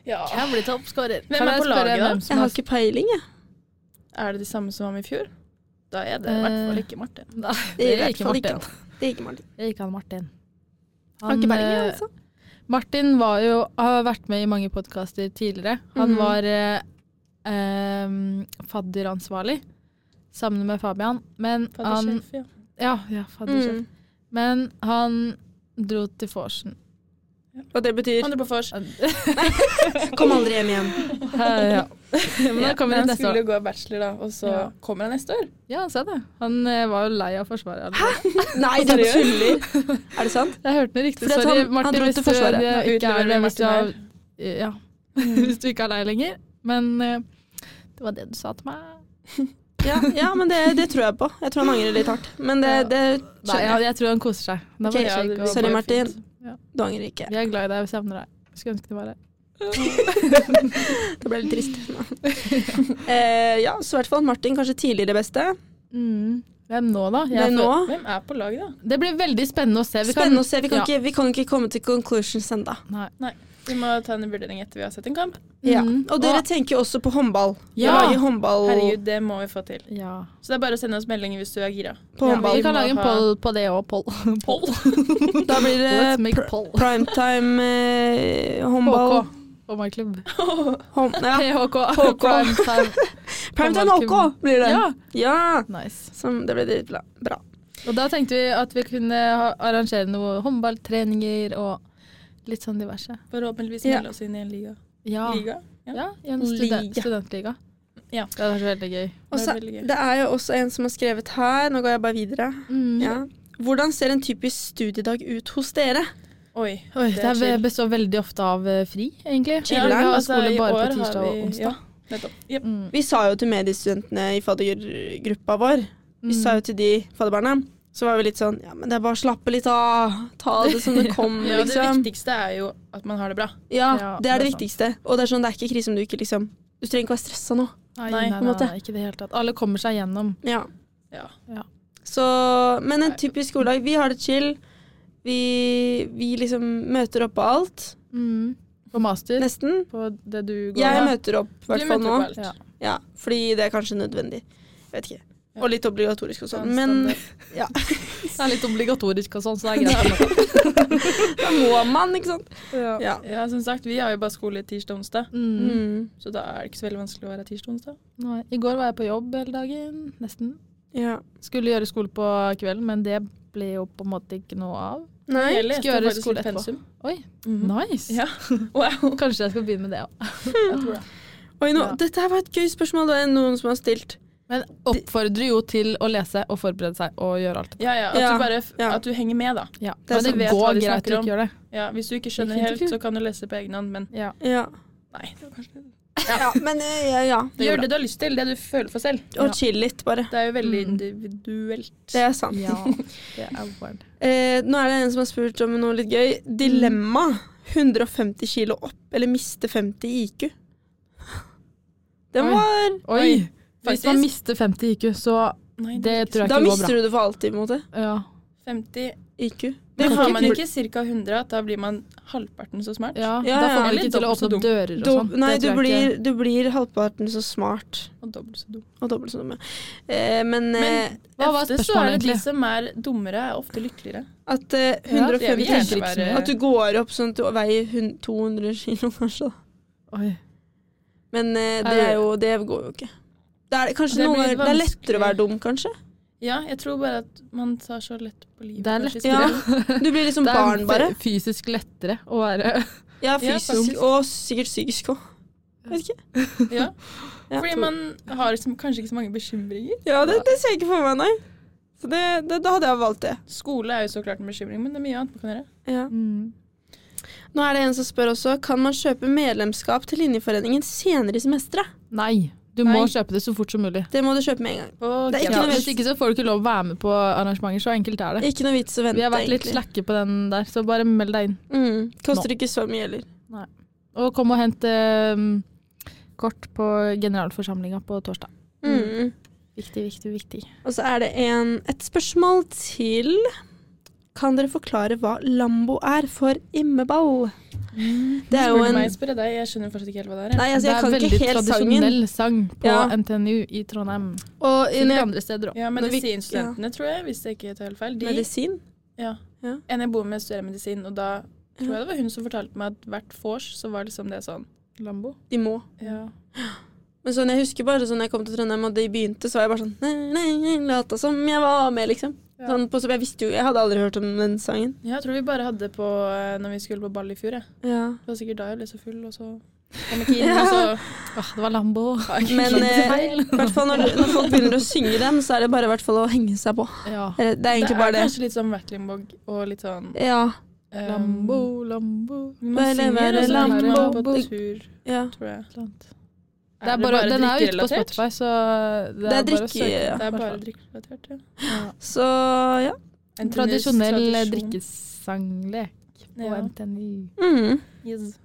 Speaker 3: Ja.
Speaker 2: Jeg blir toppskårer.
Speaker 3: Hvem er på laget, da?
Speaker 1: Jeg har ikke peiling, jeg.
Speaker 3: Er det de samme som var med i fjor? Da er det i hvert fall
Speaker 2: Eh.
Speaker 3: ikke Martin.
Speaker 2: Nei,
Speaker 1: Det
Speaker 2: det
Speaker 1: er i hvert
Speaker 2: gikk
Speaker 1: fall ikke
Speaker 2: Martin.
Speaker 1: Det er ikke Martin.
Speaker 2: Det gikk han Martin.
Speaker 1: Har ikke peiling, jeg,
Speaker 2: eh,
Speaker 1: altså.
Speaker 2: Martin var jo, har vært med i mange podkaster tidligere. Han
Speaker 1: Mhm.
Speaker 2: var eh, em, fadderansvarlig sammen med Fabian. Men han,
Speaker 3: Faddersjef, ja.
Speaker 2: ja, ja, faddersjef.
Speaker 1: Mm.
Speaker 2: Men han dro til vorsen.
Speaker 1: Og det betyr
Speaker 3: Han dro på vors.
Speaker 1: Kom aldri hjem igjen.
Speaker 2: ja. Men han kommer inn
Speaker 3: men han
Speaker 2: neste
Speaker 3: skulle
Speaker 2: år.
Speaker 3: jo gå bachelor, da, og så
Speaker 2: Ja.
Speaker 3: kommer han neste år.
Speaker 2: Ja, han sa det. Han eh, var jo lei av Forsvaret. allerede.
Speaker 1: Nei, du tuller. Er det sant?
Speaker 2: Jeg hørte det riktig.
Speaker 1: Fordi at
Speaker 2: Sorry,
Speaker 1: han- han
Speaker 2: Martin,
Speaker 1: dro
Speaker 2: hvis
Speaker 1: til
Speaker 2: du
Speaker 1: Forsvaret.
Speaker 2: det
Speaker 3: Nå
Speaker 2: ikke er
Speaker 3: utleverer
Speaker 2: det
Speaker 3: vi
Speaker 2: hvis du,
Speaker 3: Martin
Speaker 2: har, ja, hvis du ikke er lei lenger. Men eh, det var det du sa til meg.
Speaker 1: Ja, ja men det, det tror jeg på. Jeg tror han angrer litt hardt. Men det, det
Speaker 2: Nei,
Speaker 1: skjønner
Speaker 2: jeg,
Speaker 1: jeg.
Speaker 2: jeg tror han koser seg. Da
Speaker 3: Ok,
Speaker 2: var det
Speaker 3: ja,
Speaker 2: kjekk
Speaker 3: det-
Speaker 2: og
Speaker 1: sorry,
Speaker 2: bare
Speaker 1: Martin.
Speaker 2: fint. Ja.
Speaker 1: Du angrer ikke.
Speaker 2: Vi er glad i deg, vi savner deg. Skulle ønske det var det.
Speaker 1: Det ble litt trist. Eh, ja, så i hvert fall Martin kanskje tidligere beste.
Speaker 2: Hvem nå, da?
Speaker 1: Det er Mm. nå.
Speaker 3: Hvem er på lag, da?
Speaker 2: det blir veldig spennende å se. Vi kan-
Speaker 1: Spennende å se. Vi kan,
Speaker 2: ja.
Speaker 1: ikke, vi kan ikke komme til conclusions ennå.
Speaker 2: Nei.
Speaker 3: Vi må ta en vurdering etter vi har sett en kamp.
Speaker 1: Ja.
Speaker 2: Mhm.
Speaker 1: Mm. Og dere tenker jo også på håndball.
Speaker 2: Ja.
Speaker 1: Lage håndball
Speaker 3: Herregud, det må vi få til.
Speaker 2: ja.
Speaker 3: Så det er bare å sende oss meldinger hvis du er gira.
Speaker 1: på
Speaker 2: ja,
Speaker 1: håndball.
Speaker 2: Vi kan
Speaker 3: må
Speaker 2: lage en
Speaker 3: ha-
Speaker 2: poll på det òg. Poll. poll.
Speaker 1: Da blir
Speaker 2: Let's
Speaker 1: det
Speaker 2: make
Speaker 1: pr
Speaker 2: poll.
Speaker 1: primetime eh, håndball.
Speaker 2: HK. Oh my club.
Speaker 1: Hånd, ja.
Speaker 2: PHK.
Speaker 1: HK.
Speaker 2: Primetime.
Speaker 1: Primetime
Speaker 2: Håndball-
Speaker 1: HK blir det.
Speaker 2: Ja.
Speaker 1: Ja.
Speaker 2: Nice.
Speaker 1: Som, det ble dritbra. Bra.
Speaker 2: Og da tenkte vi at vi kunne ha- arrangere noe håndballtreninger og litt sånn diverse.
Speaker 3: Forhåpentligvis
Speaker 1: Ja.
Speaker 3: melde oss inn i en liga.
Speaker 2: Ja.
Speaker 3: liga? Ja.
Speaker 2: Ja, i en student,
Speaker 1: Liga.
Speaker 2: studentliga.
Speaker 3: Ja.
Speaker 2: Det hadde vært veldig gøy.
Speaker 1: Og
Speaker 3: Det
Speaker 1: så,
Speaker 3: er veldig gøy.
Speaker 1: det er jo også en som har skrevet her. Nå går jeg bare videre.
Speaker 2: Mm.
Speaker 1: Ja. Hvordan ser en typisk studiedag ut hos dere?
Speaker 3: Oi.
Speaker 2: Oi,
Speaker 3: Det
Speaker 2: det,
Speaker 3: er
Speaker 2: er-
Speaker 3: chill.
Speaker 2: består veldig ofte av eh, fri, egentlig.
Speaker 3: Ja,
Speaker 2: Vi har
Speaker 3: altså,
Speaker 2: skole
Speaker 3: i
Speaker 2: bare
Speaker 3: år
Speaker 2: på
Speaker 3: har
Speaker 2: tirsdag og
Speaker 3: vi-
Speaker 2: onsdag.
Speaker 3: Ja, nettopp. Jep.
Speaker 2: Mm.
Speaker 1: Vi sa jo til mediestudentene i faddergruppa vår, vi sa jo til de fadderbarna, så var vi litt sånn Ja, men det er bare å slappe litt av. Ta det som det
Speaker 2: Mm,
Speaker 1: kommer,
Speaker 3: Ja, det
Speaker 1: liksom.
Speaker 3: viktigste er jo at man har det bra.
Speaker 1: Ja,
Speaker 2: Ja,
Speaker 1: det er det
Speaker 2: det er sant.
Speaker 1: viktigste. Og det er sånn, det er ikke krise om du ikke liksom Du trenger ikke være stressa nå.
Speaker 2: Nei,
Speaker 3: Nei,
Speaker 2: nei,
Speaker 1: på en
Speaker 2: nei,
Speaker 1: måte.
Speaker 2: nei, ikke det hele tatt. Alle kommer seg gjennom.
Speaker 1: Ja.
Speaker 3: Ja.
Speaker 1: Så, men en typisk skoledag. Vi har det chill. Vi, vi liksom møter opp på alt,
Speaker 2: Mm. På master,
Speaker 1: nesten.
Speaker 2: på det du går
Speaker 1: Jeg
Speaker 2: av.
Speaker 1: møter opp, i
Speaker 3: Du
Speaker 1: hvert fall
Speaker 3: møter
Speaker 1: nå.
Speaker 3: opp på alt.
Speaker 2: Ja.
Speaker 1: Ja, fordi det er kanskje nødvendig. Jeg vet ikke.
Speaker 3: Ja.
Speaker 1: Og litt obligatorisk og
Speaker 3: Så
Speaker 1: sånn. Men
Speaker 3: standard.
Speaker 2: Det er litt obligatorisk og sånn, så det er greit.
Speaker 1: da må man, ikke sant? Ja.
Speaker 3: ja, som sagt, vi har jo bare skole tirsdag og onsdag,
Speaker 2: Mm.
Speaker 1: Mm.
Speaker 3: så da er det ikke så veldig vanskelig å være tirsdag og onsdag.
Speaker 2: Nei. I går var jeg på jobb hele dagen, nesten.
Speaker 1: ja.
Speaker 2: Skulle gjøre skole på kvelden, men det ble jo på en måte ikke noe av.
Speaker 1: Nei.
Speaker 3: Jeg leste
Speaker 2: Skal gjøre
Speaker 3: faktisk
Speaker 2: skole
Speaker 3: litt
Speaker 2: etterpå.
Speaker 3: pensum.
Speaker 2: Oi,
Speaker 1: Mhm.
Speaker 2: nice!
Speaker 3: Ja. Wow.
Speaker 2: Kanskje jeg skal begynne med det òg.
Speaker 1: Oi, nå,
Speaker 2: Ja.
Speaker 1: Dette her var et gøy spørsmål. Det er noen som har stilt.
Speaker 2: Men oppfordrer jo til å lese og forberede seg og gjøre alt.
Speaker 3: Ja, ja, at,
Speaker 1: Ja,
Speaker 3: Du bare, f-
Speaker 1: ja.
Speaker 3: at du henger med, da.
Speaker 2: Ja.
Speaker 1: Det er
Speaker 2: Men det
Speaker 3: så- vet hva
Speaker 2: går
Speaker 3: de
Speaker 2: greit
Speaker 3: snakker
Speaker 2: å
Speaker 3: om.
Speaker 2: ikke gjøre det.
Speaker 3: Ja, hvis du ikke skjønner
Speaker 2: Det er
Speaker 3: helt,
Speaker 2: fint,
Speaker 3: så kan du lese på egen hånd, men
Speaker 2: Ja.
Speaker 1: Ja.
Speaker 3: nei. Det var kanskje...
Speaker 1: ja men eh, ja, ja.
Speaker 3: Gjør det du har lyst til, det du føler for selv.
Speaker 1: Og chill litt, bare.
Speaker 3: Det er jo veldig
Speaker 2: Mm.
Speaker 3: individuelt.
Speaker 1: Det er sant.
Speaker 2: ja. Det er weird.
Speaker 1: Eh, nå er det en som har spurt om noe litt gøy. Dilemma. 150 kilo opp eller miste 50 i IQ? Den
Speaker 2: Oi.
Speaker 1: var
Speaker 2: Oi! Hvis
Speaker 3: Faktisk.
Speaker 2: man mister 50 IQ, så
Speaker 3: Nei,
Speaker 2: det tror jeg
Speaker 1: Da
Speaker 2: ikke går
Speaker 1: mister
Speaker 2: bra.
Speaker 1: du det for alltid, på en måte.
Speaker 2: Ja.
Speaker 3: 50
Speaker 1: IQ.
Speaker 3: Men
Speaker 1: Det
Speaker 3: har
Speaker 1: får
Speaker 3: man
Speaker 1: ikke-
Speaker 3: ikke ca. 100, da blir man halvparten så smart.
Speaker 2: Ja,
Speaker 1: Ja,
Speaker 2: da
Speaker 1: ja.
Speaker 2: får man
Speaker 3: Eller
Speaker 2: ikke til å
Speaker 3: dobbelt så
Speaker 2: åpne
Speaker 3: dum.
Speaker 2: opp dører og
Speaker 1: Dob-
Speaker 2: sånn. Det
Speaker 1: Nei,
Speaker 2: tror
Speaker 1: du
Speaker 2: jeg ikke.
Speaker 1: blir, du blir halvparten så smart
Speaker 3: Og dobbelt så dum.
Speaker 1: og dobbelt så dumme. Eh, men eh,
Speaker 3: Men
Speaker 2: Hva var
Speaker 3: ofte så
Speaker 2: spørsmålet
Speaker 3: er det de
Speaker 2: egentlig?
Speaker 3: som er dummere, er ofte lykkeligere.
Speaker 1: at eh,
Speaker 3: jeg vil
Speaker 1: 150
Speaker 3: gjerne
Speaker 1: kilo-
Speaker 3: være-
Speaker 1: At du går opp sånn at du veier hun- 200 kilo, kanskje. da.
Speaker 2: Oi.
Speaker 1: Men eh, det,
Speaker 2: Er-
Speaker 1: er jo, det går jo ikke. Det er, kanskje
Speaker 3: Det
Speaker 1: noen
Speaker 3: blir
Speaker 1: ganger, det er
Speaker 3: vanskelig.
Speaker 1: lettere å være dum, kanskje.
Speaker 3: Ja, jeg tror bare at man tar så lett på livet.
Speaker 2: Det er
Speaker 3: kanskje.
Speaker 1: Ja. Du blir liksom
Speaker 2: Det er
Speaker 1: barn, bare.
Speaker 2: fe- fysisk lettere å være
Speaker 1: Ja,
Speaker 3: Ja,
Speaker 1: fysisk
Speaker 3: faktisk.
Speaker 1: og sikkert psykisk òg.
Speaker 3: Ja.
Speaker 1: Ja.
Speaker 3: Fordi man har liksom, kanskje ikke så mange bekymringer.
Speaker 1: Ja, det, det ser jeg ikke for meg, nei. Så det, det, da hadde jeg valgt det.
Speaker 3: Skole er jo så klart en bekymring, men det er mye annet man kan gjøre.
Speaker 1: Ja.
Speaker 2: Mm.
Speaker 1: Nå er det en som spør også Kan man kjøpe medlemskap til linjeforeningen senere i semesteret.
Speaker 2: Nei, du
Speaker 3: Nei.
Speaker 2: må kjøpe det så fort som mulig.
Speaker 1: Det må du kjøpe med en gang.
Speaker 3: Og
Speaker 1: Det er ikke
Speaker 2: Ja,
Speaker 1: noe
Speaker 2: hvis
Speaker 1: vits.
Speaker 2: ikke så får du ikke lov å være med på arrangementer, så enkelt er det.
Speaker 1: Ikke noe vits å vente,
Speaker 2: Vi har vært litt
Speaker 1: egentlig.
Speaker 2: slakke på den der, så bare meld deg inn.
Speaker 1: Mm, koster ikke så mye heller.
Speaker 2: Og kom og hent eh, kort på generalforsamlinga på torsdag.
Speaker 1: Mm.
Speaker 2: Viktig, viktig, viktig.
Speaker 1: Og så er det en, et spørsmål til. Kan dere forklare hva Lambo er for immeball? Det er jo
Speaker 3: Spør du
Speaker 1: en
Speaker 3: meg, spør jeg deg. Jeg skjønner fortsatt ikke helt hva det er. jeg.
Speaker 1: Nei, altså,
Speaker 2: Mm. det
Speaker 1: jeg
Speaker 2: er
Speaker 1: kan
Speaker 2: veldig
Speaker 1: ikke helt sangen.
Speaker 2: tradisjonell sang på
Speaker 1: Ja.
Speaker 2: NTNU i Trondheim.
Speaker 1: Og i
Speaker 2: Sikkert andre steder òg.
Speaker 3: Ja,
Speaker 1: Når vi-
Speaker 3: Medisinstudentene, tror jeg, hvis jeg ikke tar helt feil. De,
Speaker 1: medisin.
Speaker 3: ja.
Speaker 1: Ja.
Speaker 3: En jeg bor med, studerer medisin, og da tror jeg det var hun som fortalte meg at hvert vors så var liksom det sånn
Speaker 2: Lambo.
Speaker 1: De må.
Speaker 3: Ja.
Speaker 1: Men sånn, jeg husker bare sånn, når jeg kom til Trondheim og de begynte, så var jeg bare sånn nei, nei, nei, Lata som jeg var med, liksom.
Speaker 3: Ja.
Speaker 1: Sånn, på, jeg visste jo, jeg hadde aldri hørt om den sangen.
Speaker 3: Jeg tror vi bare hadde det på eh, når vi skulle på ball i fjor. Jeg.
Speaker 1: Ja.
Speaker 3: Det var sikkert da jeg ble så full, og så kom jeg ikke inn. Og så
Speaker 2: Åh, Ah, det var Lambo.
Speaker 1: Men
Speaker 2: Litt
Speaker 1: eh,
Speaker 2: feil.
Speaker 1: i hvert fall når, når folk begynner å synge den, så er det bare i hvert fall å henge seg på.
Speaker 2: Ja.
Speaker 1: Eller, det er
Speaker 3: det
Speaker 1: egentlig
Speaker 3: er
Speaker 1: bare det.
Speaker 3: kanskje litt sånn Vertlingborg og litt sånn
Speaker 1: Ja,
Speaker 3: eh,
Speaker 2: Lambo,
Speaker 1: um,
Speaker 2: Lambo
Speaker 3: Man
Speaker 1: Bare
Speaker 3: synger,
Speaker 1: være
Speaker 3: og så er man
Speaker 1: Lambo.
Speaker 3: på tur,
Speaker 1: ja.
Speaker 3: tror jeg.
Speaker 2: Atlant.
Speaker 3: Er
Speaker 2: Det er bare, den er jo ute på
Speaker 3: drikkerelatert?
Speaker 2: Spotify, så det
Speaker 1: Det er
Speaker 2: er, bare å
Speaker 1: drikke-
Speaker 2: søke.
Speaker 1: ja.
Speaker 3: Det er bare
Speaker 2: hvertfall.
Speaker 3: drikkerelatert, ja.
Speaker 1: Så ja.
Speaker 2: En
Speaker 3: NTNUs
Speaker 2: tradisjonell
Speaker 3: tradisjon.
Speaker 2: drikkesanglek på
Speaker 3: Ja.
Speaker 2: NTNU.
Speaker 1: Mm.
Speaker 3: Yes.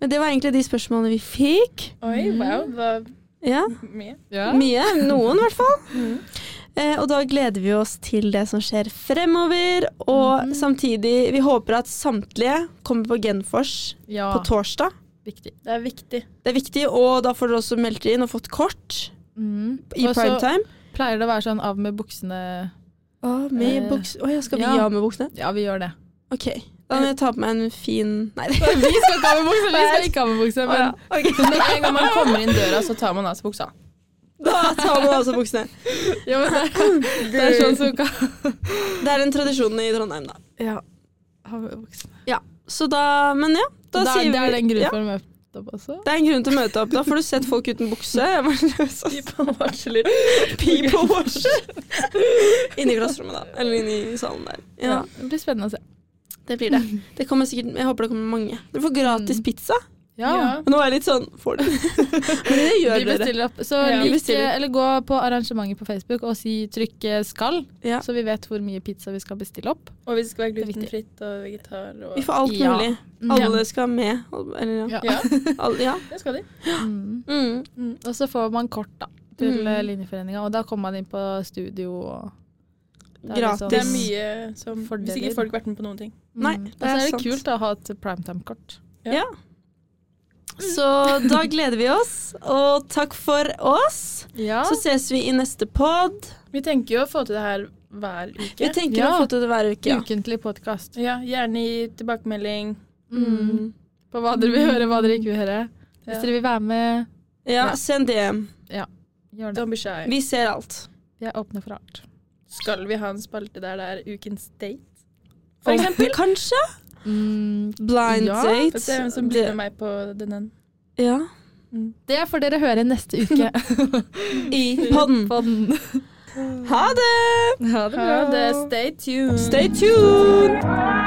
Speaker 1: Men det var egentlig de spørsmålene vi fikk.
Speaker 3: Oi, wow, det var
Speaker 1: Ja,
Speaker 3: mye.
Speaker 1: Mye. Noen, i hvert fall.
Speaker 2: Mm.
Speaker 1: Eh, og da gleder vi oss til det som skjer fremover. Og
Speaker 2: Mm.
Speaker 1: samtidig, vi håper at samtlige kommer på Genfors
Speaker 2: Ja,
Speaker 1: på torsdag.
Speaker 2: viktig.
Speaker 3: Det er viktig.
Speaker 1: Det er viktig, og da får dere også meldt inn og fått kort
Speaker 2: Mm.
Speaker 1: i
Speaker 2: Og så
Speaker 1: primetime.
Speaker 2: pleier det å være sånn av med buksene
Speaker 1: Å, med
Speaker 2: Eh,
Speaker 1: buks... Å ja, skal vi
Speaker 2: ja.
Speaker 1: ha med buksene?
Speaker 2: Ja, vi gjør det.
Speaker 1: OK. Da må jeg ta på meg en fin Nei.
Speaker 2: Vi skal ikke ha med bukse! Vi skal ikke ha med bukse,
Speaker 1: liksom. Å,
Speaker 2: men
Speaker 1: ja. Ok.
Speaker 3: Men en gang man kommer inn døra, så tar man av seg buksa.
Speaker 1: Da tar man altså buksene.
Speaker 2: Ja, men det, det er sånn som kan
Speaker 1: Det er en tradisjon i Trondheim, da.
Speaker 2: Ja. Ha med buksene.
Speaker 1: Så da Men ja. Da
Speaker 2: det,
Speaker 1: sier
Speaker 2: er, det er
Speaker 1: vi-
Speaker 2: den grunnen
Speaker 1: ja.
Speaker 2: for å møte opp også.
Speaker 1: Det er en grunn til å møte opp. Da får du sett folk uten bukse. Jeg var løs, altså.
Speaker 3: Varsler.
Speaker 1: People watch. Inni klasserommet, da. Eller inni salen der. Ja.
Speaker 2: Det blir spennende å se.
Speaker 1: det blir det. Det kommer sikkert, Jeg håper det kommer mange. Dere får gratis
Speaker 2: Mm.
Speaker 1: pizza.
Speaker 2: Ja.
Speaker 1: Og nå er jeg litt sånn Får dere det? Men det
Speaker 2: Vi
Speaker 1: gjør dere.
Speaker 2: bestiller opp. Så
Speaker 3: Ja.
Speaker 1: Vi
Speaker 2: lik,
Speaker 1: bestiller.
Speaker 2: eller gå på arrangementet på Facebook og si trykk eh, 'skal',
Speaker 1: Ja.
Speaker 2: så vi vet hvor mye pizza vi skal bestille opp.
Speaker 3: Og vi skal være
Speaker 2: Det er viktig.
Speaker 3: glutenfritt og vegetar og
Speaker 1: Vi får alt
Speaker 2: Ja.
Speaker 1: mulig. Alle skal med. og- Eller ja.
Speaker 2: Ja.
Speaker 3: Ja,
Speaker 1: Alle, ja.
Speaker 3: det skal de.
Speaker 2: Mm.
Speaker 1: Mm.
Speaker 2: Og så får man kort da, til
Speaker 1: Mm.
Speaker 2: eh, linjeforeninga, og da kommer man inn på studio og Det er litt sånn-
Speaker 1: Gratis.
Speaker 3: Det er mye som
Speaker 2: Fordeler.
Speaker 3: Hvis ikke folk vært med på noen ting.
Speaker 1: Nei,
Speaker 2: Mm.
Speaker 1: det
Speaker 2: Og så
Speaker 1: er
Speaker 2: er det
Speaker 1: sant.
Speaker 2: kult å ha et primetime-kort.
Speaker 1: Så da gleder vi oss, og takk for oss.
Speaker 2: Ja.
Speaker 1: Så ses vi i neste pod.
Speaker 3: Vi tenker jo å få til det her hver
Speaker 1: Vi
Speaker 3: uke.
Speaker 1: tenker
Speaker 2: Ja.
Speaker 1: å få til det hver uke. Ja.
Speaker 2: Ukentlig podkast.
Speaker 3: Ja, Gjerne gi tilbakemelding.
Speaker 2: Mm. På hva dere vil høre, hva dere ikke vil høre. Hvis
Speaker 3: Ja.
Speaker 2: dere vil være med,
Speaker 1: ja, send DM.
Speaker 2: gjør det.
Speaker 3: Don't be shy.
Speaker 1: Vi ser alt.
Speaker 2: Vi er åpne for alt.
Speaker 3: Skal vi ha en spalte der det er ukens date? For
Speaker 1: Og-
Speaker 3: eksempel.
Speaker 1: Kanskje?
Speaker 2: Mm.
Speaker 1: Blind
Speaker 2: Ja,
Speaker 3: Få
Speaker 1: date.
Speaker 3: se hvem som blir med meg på denne.
Speaker 1: Det- ja.
Speaker 2: Det får dere høre neste uke.
Speaker 1: I podden.
Speaker 2: På den.
Speaker 1: Ha det!
Speaker 2: Ha
Speaker 3: Ha det. Stay tuned.
Speaker 1: Stay tuned!